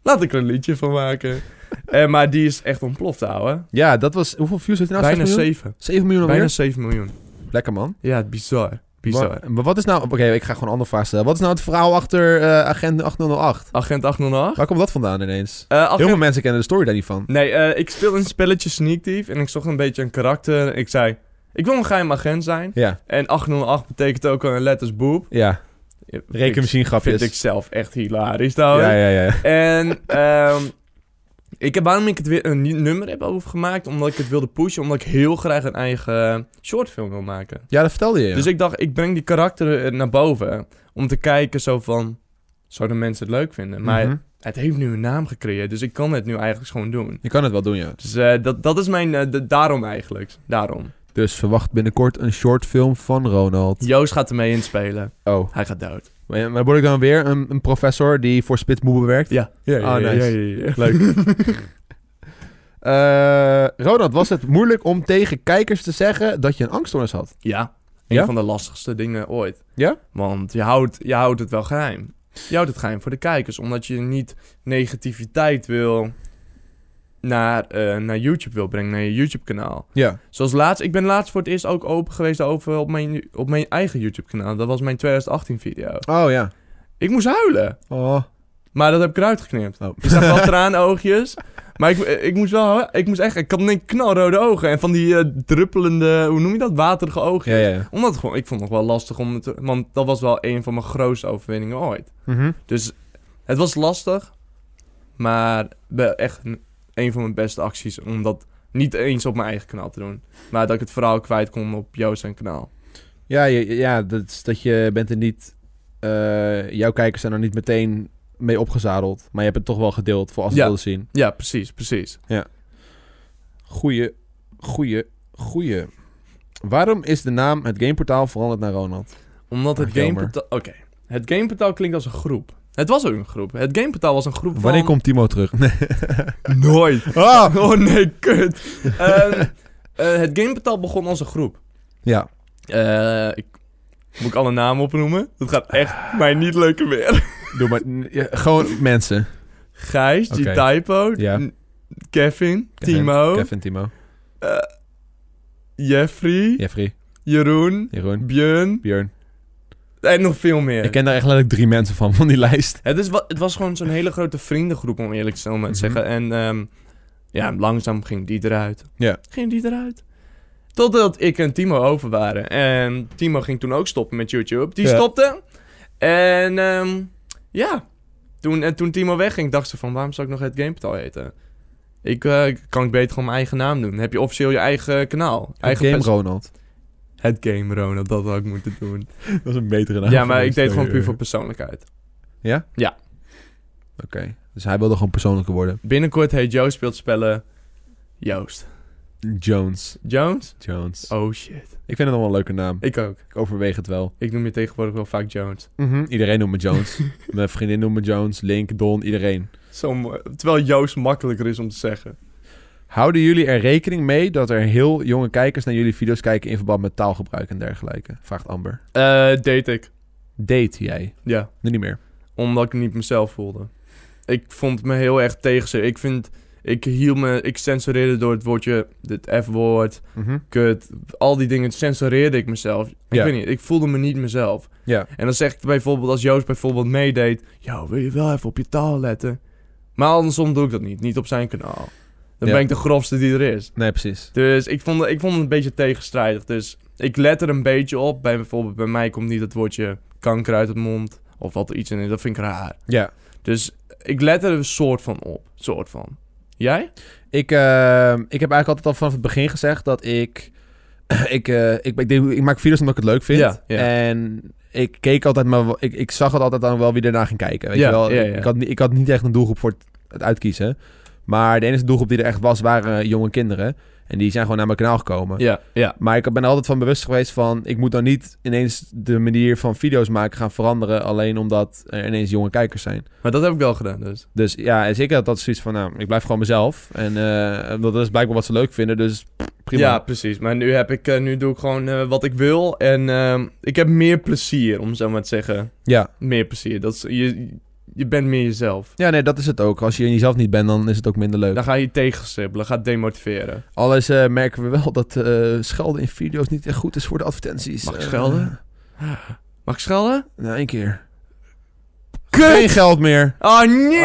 B: Laat ik er een liedje van maken. Eh, maar die is echt ontploft, ouwe.
A: Ja, dat was... Hoeveel views heeft hij nou?
B: Bijna
A: 7 Nou, miljoen? 7
B: 7.
A: miljoen
B: Bijna
A: alweer?
B: 7 miljoen.
A: Lekker, man.
B: Ja, bizar. Bizar.
A: Maar, maar wat is nou... Oké, ik ga gewoon een andere vraag stellen. Wat is nou het verhaal achter eh, Agent 808?
B: Agent 808.
A: Waar komt dat vandaan ineens?
B: Eh, agent-
A: Heel veel mensen kennen de story daar niet van.
B: Nee, eh, ik speelde een spelletje Sneak Thief en ik zocht een beetje een karakter. Ik zei, ik wil een geheim agent zijn.
A: Ja,
B: En 808 betekent ook een letters boep.
A: ja.
B: Ik-
A: Rekenmachine
B: Vind
A: grapjes.
B: ik zelf echt hilarisch, trouwens.
A: Ja, ja, ja.
B: En ehm, ik heb, waarom ik het weer een nieuw nummer heb over gemaakt, omdat ik het wilde pushen, omdat ik heel graag een eigen shortfilm wil maken.
A: Ja, dat vertelde je. ja.
B: Dus ik dacht, ik breng die karakteren eh, naar boven om te kijken zo van, zouden mensen het leuk vinden? Maar
A: Mhm.
B: het heeft nu een naam gecreëerd, dus ik kan het nu eigenlijk gewoon doen.
A: Je kan het wel doen, ja.
B: Dus eh, dat, dat is mijn, eh, de- daarom eigenlijk, daarom.
A: Dus verwacht binnenkort een shortfilm van Ronald.
B: Joost gaat ermee inspelen,
A: Oh.
B: hij gaat dood.
A: Maar maar word ik dan weer een, een professor die voor Spitsmoebe werkt? Oh,
B: Ja. ja,
A: ja, ja,
B: Leuk.
A: Eh, Ronald, was het moeilijk om tegen kijkers te zeggen dat je een angststoornis had?
B: Ja, een
A: Ja?
B: van de lastigste dingen ooit.
A: Ja?
B: Want je houdt, je houdt het wel geheim. Je houdt het geheim voor de kijkers, omdat je niet negativiteit wil naar, eh, naar YouTube wil brengen, naar je YouTube-kanaal.
A: Ja.
B: Zoals laatst, ik ben laatst voor het eerst ook open geweest over op mijn, op mijn eigen YouTube-kanaal. Dat was mijn 2018-video.
A: Oh, ja.
B: Ik moest huilen,
A: Oh.
B: maar dat heb ik eruit geknipt.
A: Oh.
B: Je zag wel traanoogjes, maar ik, ik moest wel, hu- ik moest echt, ik had een knalrode ogen en van die eh, druppelende, hoe noem je dat, waterige oogjes
A: Ja, ja, ja.
B: omdat het gewoon, ik vond het nog wel lastig om het. te- Want dat was wel een van mijn grootste overwinningen ooit.
A: Mhm.
B: Dus het was lastig. Maar be- echt een- een van mijn beste acties. Om dat niet eens op mijn eigen kanaal te doen. Maar dat ik het verhaal kwijt kon op Joost zijn kanaal.
A: Ja, je- ja dat, is- dat je bent er niet... eh, jouw kijkers zijn er niet meteen mee opgezadeld. Maar je hebt het toch wel gedeeld voor als ze
B: Ja.
A: het wilden zien.
B: Ja, precies, precies.
A: Goeie, goeie, goeie. Waarom is de naam het gameportaal veranderd naar Ronald?
B: Omdat het
A: Ah, jammer.
B: gameportaal... Oké. Het gameportaal klinkt als een groep. Het was ook een groep. Het gameportaal was een groep van...
A: Wanneer komt Timo terug?
B: Nooit.
A: Ah!
B: Oh nee, kut. Ehm, eh, het gameportaal begon als een groep.
A: Ja.
B: Eh, ik... Moet ik alle namen opnoemen? Dat gaat
A: Ah.
B: echt mij niet lukken meer.
A: Doe maar. n- ja, gewoon mensen.
B: Gijs,
A: Oké.
B: G-Typo,
A: Ja.
B: N- Kevin, Timo,
A: Kevin Timo.
B: eh, Jeffrey,
A: Jeffrey,
B: Jeroen,
A: Jeroen,
B: Björn
A: Björn.
B: en nog veel meer.
A: Ik ken daar echt letterlijk drie mensen van, van die lijst.
B: Het, is, wa- het was gewoon zo'n hele grote vriendengroep, om eerlijk te zijn, om het te
A: Mhm.
B: zeggen. En ehm, ja, langzaam ging die eruit.
A: Ja.
B: Ging die eruit. Totdat ik en Timo over waren. En Timo ging toen ook stoppen met YouTube. Die
A: Ja.
B: stopte. En ehm, ja, toen, en toen Timo wegging, dacht ze van... waarom zou ik nog het Gameportal heten? Ik eh, kan ik beter gewoon mijn eigen naam doen. heb je officieel je eigen kanaal. Eigen
A: Game
B: pers-
A: Ronald.
B: Het Game Ronald, dat had ik moeten doen.
A: Dat is een betere naam.
B: ja,
A: voor
B: maar ik
A: deze
B: deed het gewoon puur
A: periode.
B: voor persoonlijkheid.
A: Oké, dus hij wilde gewoon persoonlijker worden.
B: Binnenkort heet Joost speelt spellen Joost.
A: Jones.
B: Jones?
A: Jones.
B: Oh shit.
A: Ik vind het nog wel een leuke naam.
B: Ik ook.
A: Ik overweeg het wel.
B: Ik noem je tegenwoordig wel vaak Jones.
A: Iedereen noemt me Jones. Mijn vriendin noemt me Jones. Link, Don, iedereen.
B: Zo mooi. Terwijl Joost makkelijker is om te zeggen.
A: Houden jullie er rekening mee dat er heel jonge kijkers naar jullie video's kijken in verband met taalgebruik en dergelijke? Vraagt Amber.
B: Eh, date ik.
A: Date jij?
B: Ja.
A: Nee, niet meer.
B: Omdat ik niet mezelf voelde. Ik vond me heel erg tegenzin. Ik vind... Ik hield me... Ik censureerde door het woordje... Dit F-woord. Kut. Al die dingen censureerde ik mezelf. Ik
A: Ja.
B: weet niet. Ik voelde me niet mezelf.
A: Ja.
B: En dan zeg ik bijvoorbeeld... Als Joost bijvoorbeeld meedeed... Yo, wil je wel even op je taal letten? Maar andersom doe ik dat niet. Niet op zijn kanaal. Dan
A: Ja.
B: ben ik de grofste die er is.
A: Nee, precies.
B: Dus ik vond, ik vond het een beetje tegenstrijdig. Dus ik let er een beetje op. Bij, bijvoorbeeld bij mij komt niet het woordje kanker uit het mond. Of wat er iets in is. Dat vind ik raar.
A: Ja.
B: Dus ik let er een soort van op. Soort van. Jij?
A: Ik, eh, ik heb eigenlijk altijd al vanaf het begin gezegd dat ik... ik, eh, ik, ik, deed- ik maak video's omdat ik het leuk vind.
B: Ja, ja.
A: En ik keek altijd maar... wel- Ik, ik zag het altijd dan wel wie ernaar ging kijken. Weet
B: Ja,
A: je wel?
B: ja, ja.
A: Ik, had, niet- ik had niet echt een doelgroep voor het, het uitkiezen. Maar de enige doelgroep die er echt was, waren jonge kinderen. En die zijn gewoon naar mijn kanaal gekomen.
B: Ja, ja.
A: Maar ik ben er altijd van bewust geweest van... ik moet dan niet ineens de manier van video's maken gaan veranderen... alleen omdat er ineens jonge kijkers zijn.
B: Maar dat heb ik wel gedaan dus.
A: Dus ja, en zeker dat dat zoiets van... nou, ik blijf gewoon mezelf. En eh, dat is blijkbaar wat ze leuk vinden, dus prima.
B: Ja, precies. Maar nu, heb ik, eh, nu doe ik gewoon eh, wat ik wil. En ehm, ik heb meer plezier, om zo maar te zeggen.
A: ja.
B: Meer plezier. Dat is, je, je bent meer jezelf.
A: Ja, nee, dat is het ook. Als je in jezelf niet bent, dan is het ook minder leuk.
B: Dan ga je tegenstribbelen. Gaat demotiveren.
A: Alles eh, merken we wel dat eh, schelden in video's niet echt goed is voor de advertenties.
B: Mag ik
A: Eh,
B: schelden? Mag ik schelden?
A: nou, één keer. Geen geld meer.
B: Oh nee!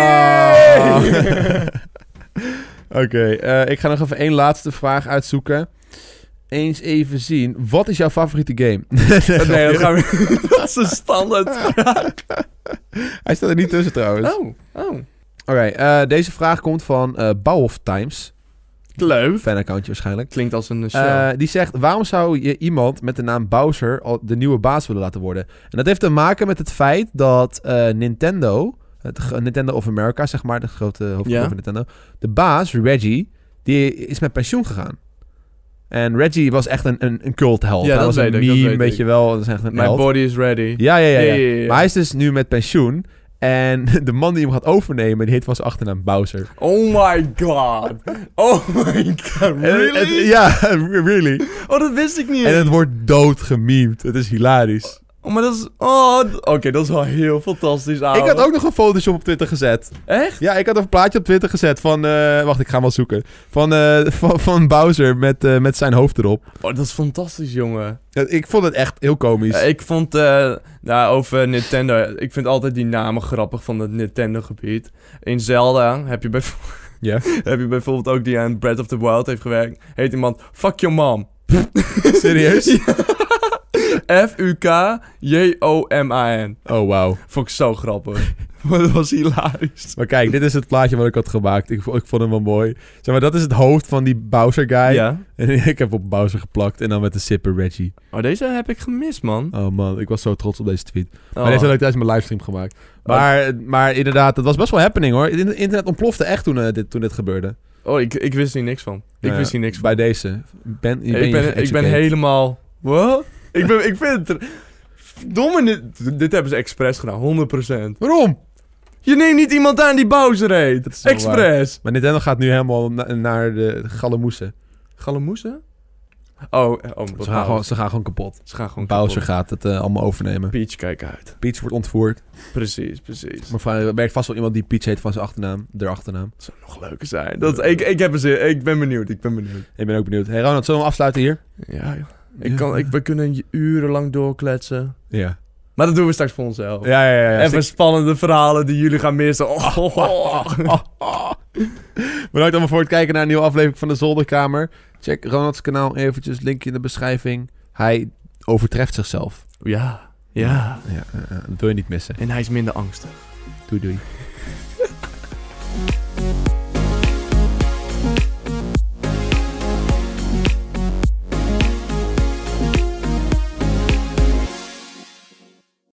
A: Oh. Oké, eh, ik ga nog even één laatste vraag uitzoeken. Eens even zien. Wat is jouw favoriete game?
B: nee, dat, gaan we... dat is een standaard.
A: Hij staat er niet tussen trouwens.
B: Oh, oh.
A: Oké, eh, deze vraag komt van eh Bauhof Times.
B: Leuk.
A: Fanaccountje waarschijnlijk.
B: Klinkt als een eh, show.
A: Eh, die zegt, waarom zou je iemand met de naam Bowser al de nieuwe baas willen laten worden? En dat heeft te maken met het feit dat eh, Nintendo, het gro- Nintendo of America, zeg maar, de grote hoofdgroep
B: Ja.
A: van Nintendo, de baas, Reggie, die is met pensioen gegaan. En Reggie was echt een, een, een cultheld.
B: Ja,
A: Hij
B: dat
A: was een
B: weet ik, dat
A: meme,
B: weet
A: weet
B: ik.
A: je wel. Dat is echt een
B: My
A: held.
B: body is ready.
A: Ja, ja, ja, ja.
B: Ja, ja, ja.
A: Maar hij is dus nu met pensioen. En de man die hem gaat overnemen, die heet van zijn achternaam Bowser.
B: Oh my god. Oh my god.
A: En- en-
B: Really?
A: ja, really.
B: Oh, dat wist ik niet.
A: En het wordt dood gemiemd. Het is hilarisch.
B: Oh, maar dat is... Oh, d- oké, dat is wel heel fantastisch, ouwe.
A: Ik had ook nog een Photoshop op Twitter gezet.
B: Echt?
A: Ja, ik had een plaatje op Twitter gezet van... eh, wacht, ik ga hem wel zoeken. Van, eh, van, van Bowser met, eh, met zijn hoofd erop.
B: Oh, dat is fantastisch, jongen.
A: Ja, Ik vond het echt heel komisch.
B: Ja, ik vond... eh nou, over Nintendo... Ik vind altijd die namen grappig van het Nintendo-gebied. In Zelda heb je bijvoorbeeld...
A: Ja.
B: Heb je bijvoorbeeld ook die aan Breath of the Wild heeft gewerkt. Heet iemand Fuck Your Mom.
A: Serieus?
B: F-U-K-J-O-M-A-N.
A: Oh, wauw.
B: Vond ik zo grappig. Maar dat was hilarisch.
A: Maar kijk, dit is het plaatje wat ik had gemaakt. Ik, vo- ik vond hem wel mooi. Zeg maar, dat is het hoofd van die Bowser-guy.
B: Ja.
A: En ik heb op Bowser geplakt. En dan met de sipper Reggie.
B: Oh, deze heb ik gemist, man.
A: Oh man, ik was zo trots op deze tweet.
B: Oh.
A: Maar deze had ik tijdens mijn livestream gemaakt. Maar, maar inderdaad, het was best wel happening hoor. Het internet ontplofte echt toen, eh, dit, toen dit gebeurde.
B: Oh, ik, ik wist hier niks van. Ik
A: Nou ja,
B: wist hier niks van.
A: Bij deze. Ben, je
B: ik,
A: ben,
B: ben, ik ben helemaal... What? ik, ben, ik vind het... Domme, dit, dit hebben ze expres gedaan, 100%.
A: Waarom?
B: Je neemt niet iemand aan die Bowser heet.
A: Dat is wel
B: expres.
A: Maar Nintendo gaat nu helemaal na- naar de gallemoesen.
B: Gallemoesen? Oh, oh Bowser.
A: Ze gaan, gewoon, ze gaan gewoon kapot.
B: Ze gaan gewoon
A: Bowser
B: kapot.
A: gaat het eh, allemaal overnemen.
B: Peach, kijk uit.
A: Peach wordt ontvoerd.
B: Precies, precies.
A: Maar van- er werkt vast wel iemand die Peach heet van zijn achternaam. De achternaam.
B: Dat zou nog leuker zijn. Dat, ik, ik, heb er zin. ik ben benieuwd, ik ben benieuwd.
A: Ik ben ook benieuwd. Hey Ronald, zullen we hem afsluiten hier?
B: Ja, joh. Ik kan, ik, we kunnen urenlang doorkletsen.
A: Ja.
B: Maar dat doen we straks voor onszelf.
A: Ja, ja, ja. ja.
B: Even spannende verhalen die jullie gaan missen. Oh, oh, oh.
A: Ah, Bedankt allemaal voor het kijken naar een nieuwe aflevering van de Zolderkamer. Check Ronalds kanaal eventjes, linkje in de beschrijving. Hij overtreft zichzelf.
B: Ja, ja.
A: Ja, eh, eh, dat wil je niet missen.
B: En hij is minder angstig.
A: Doei doei.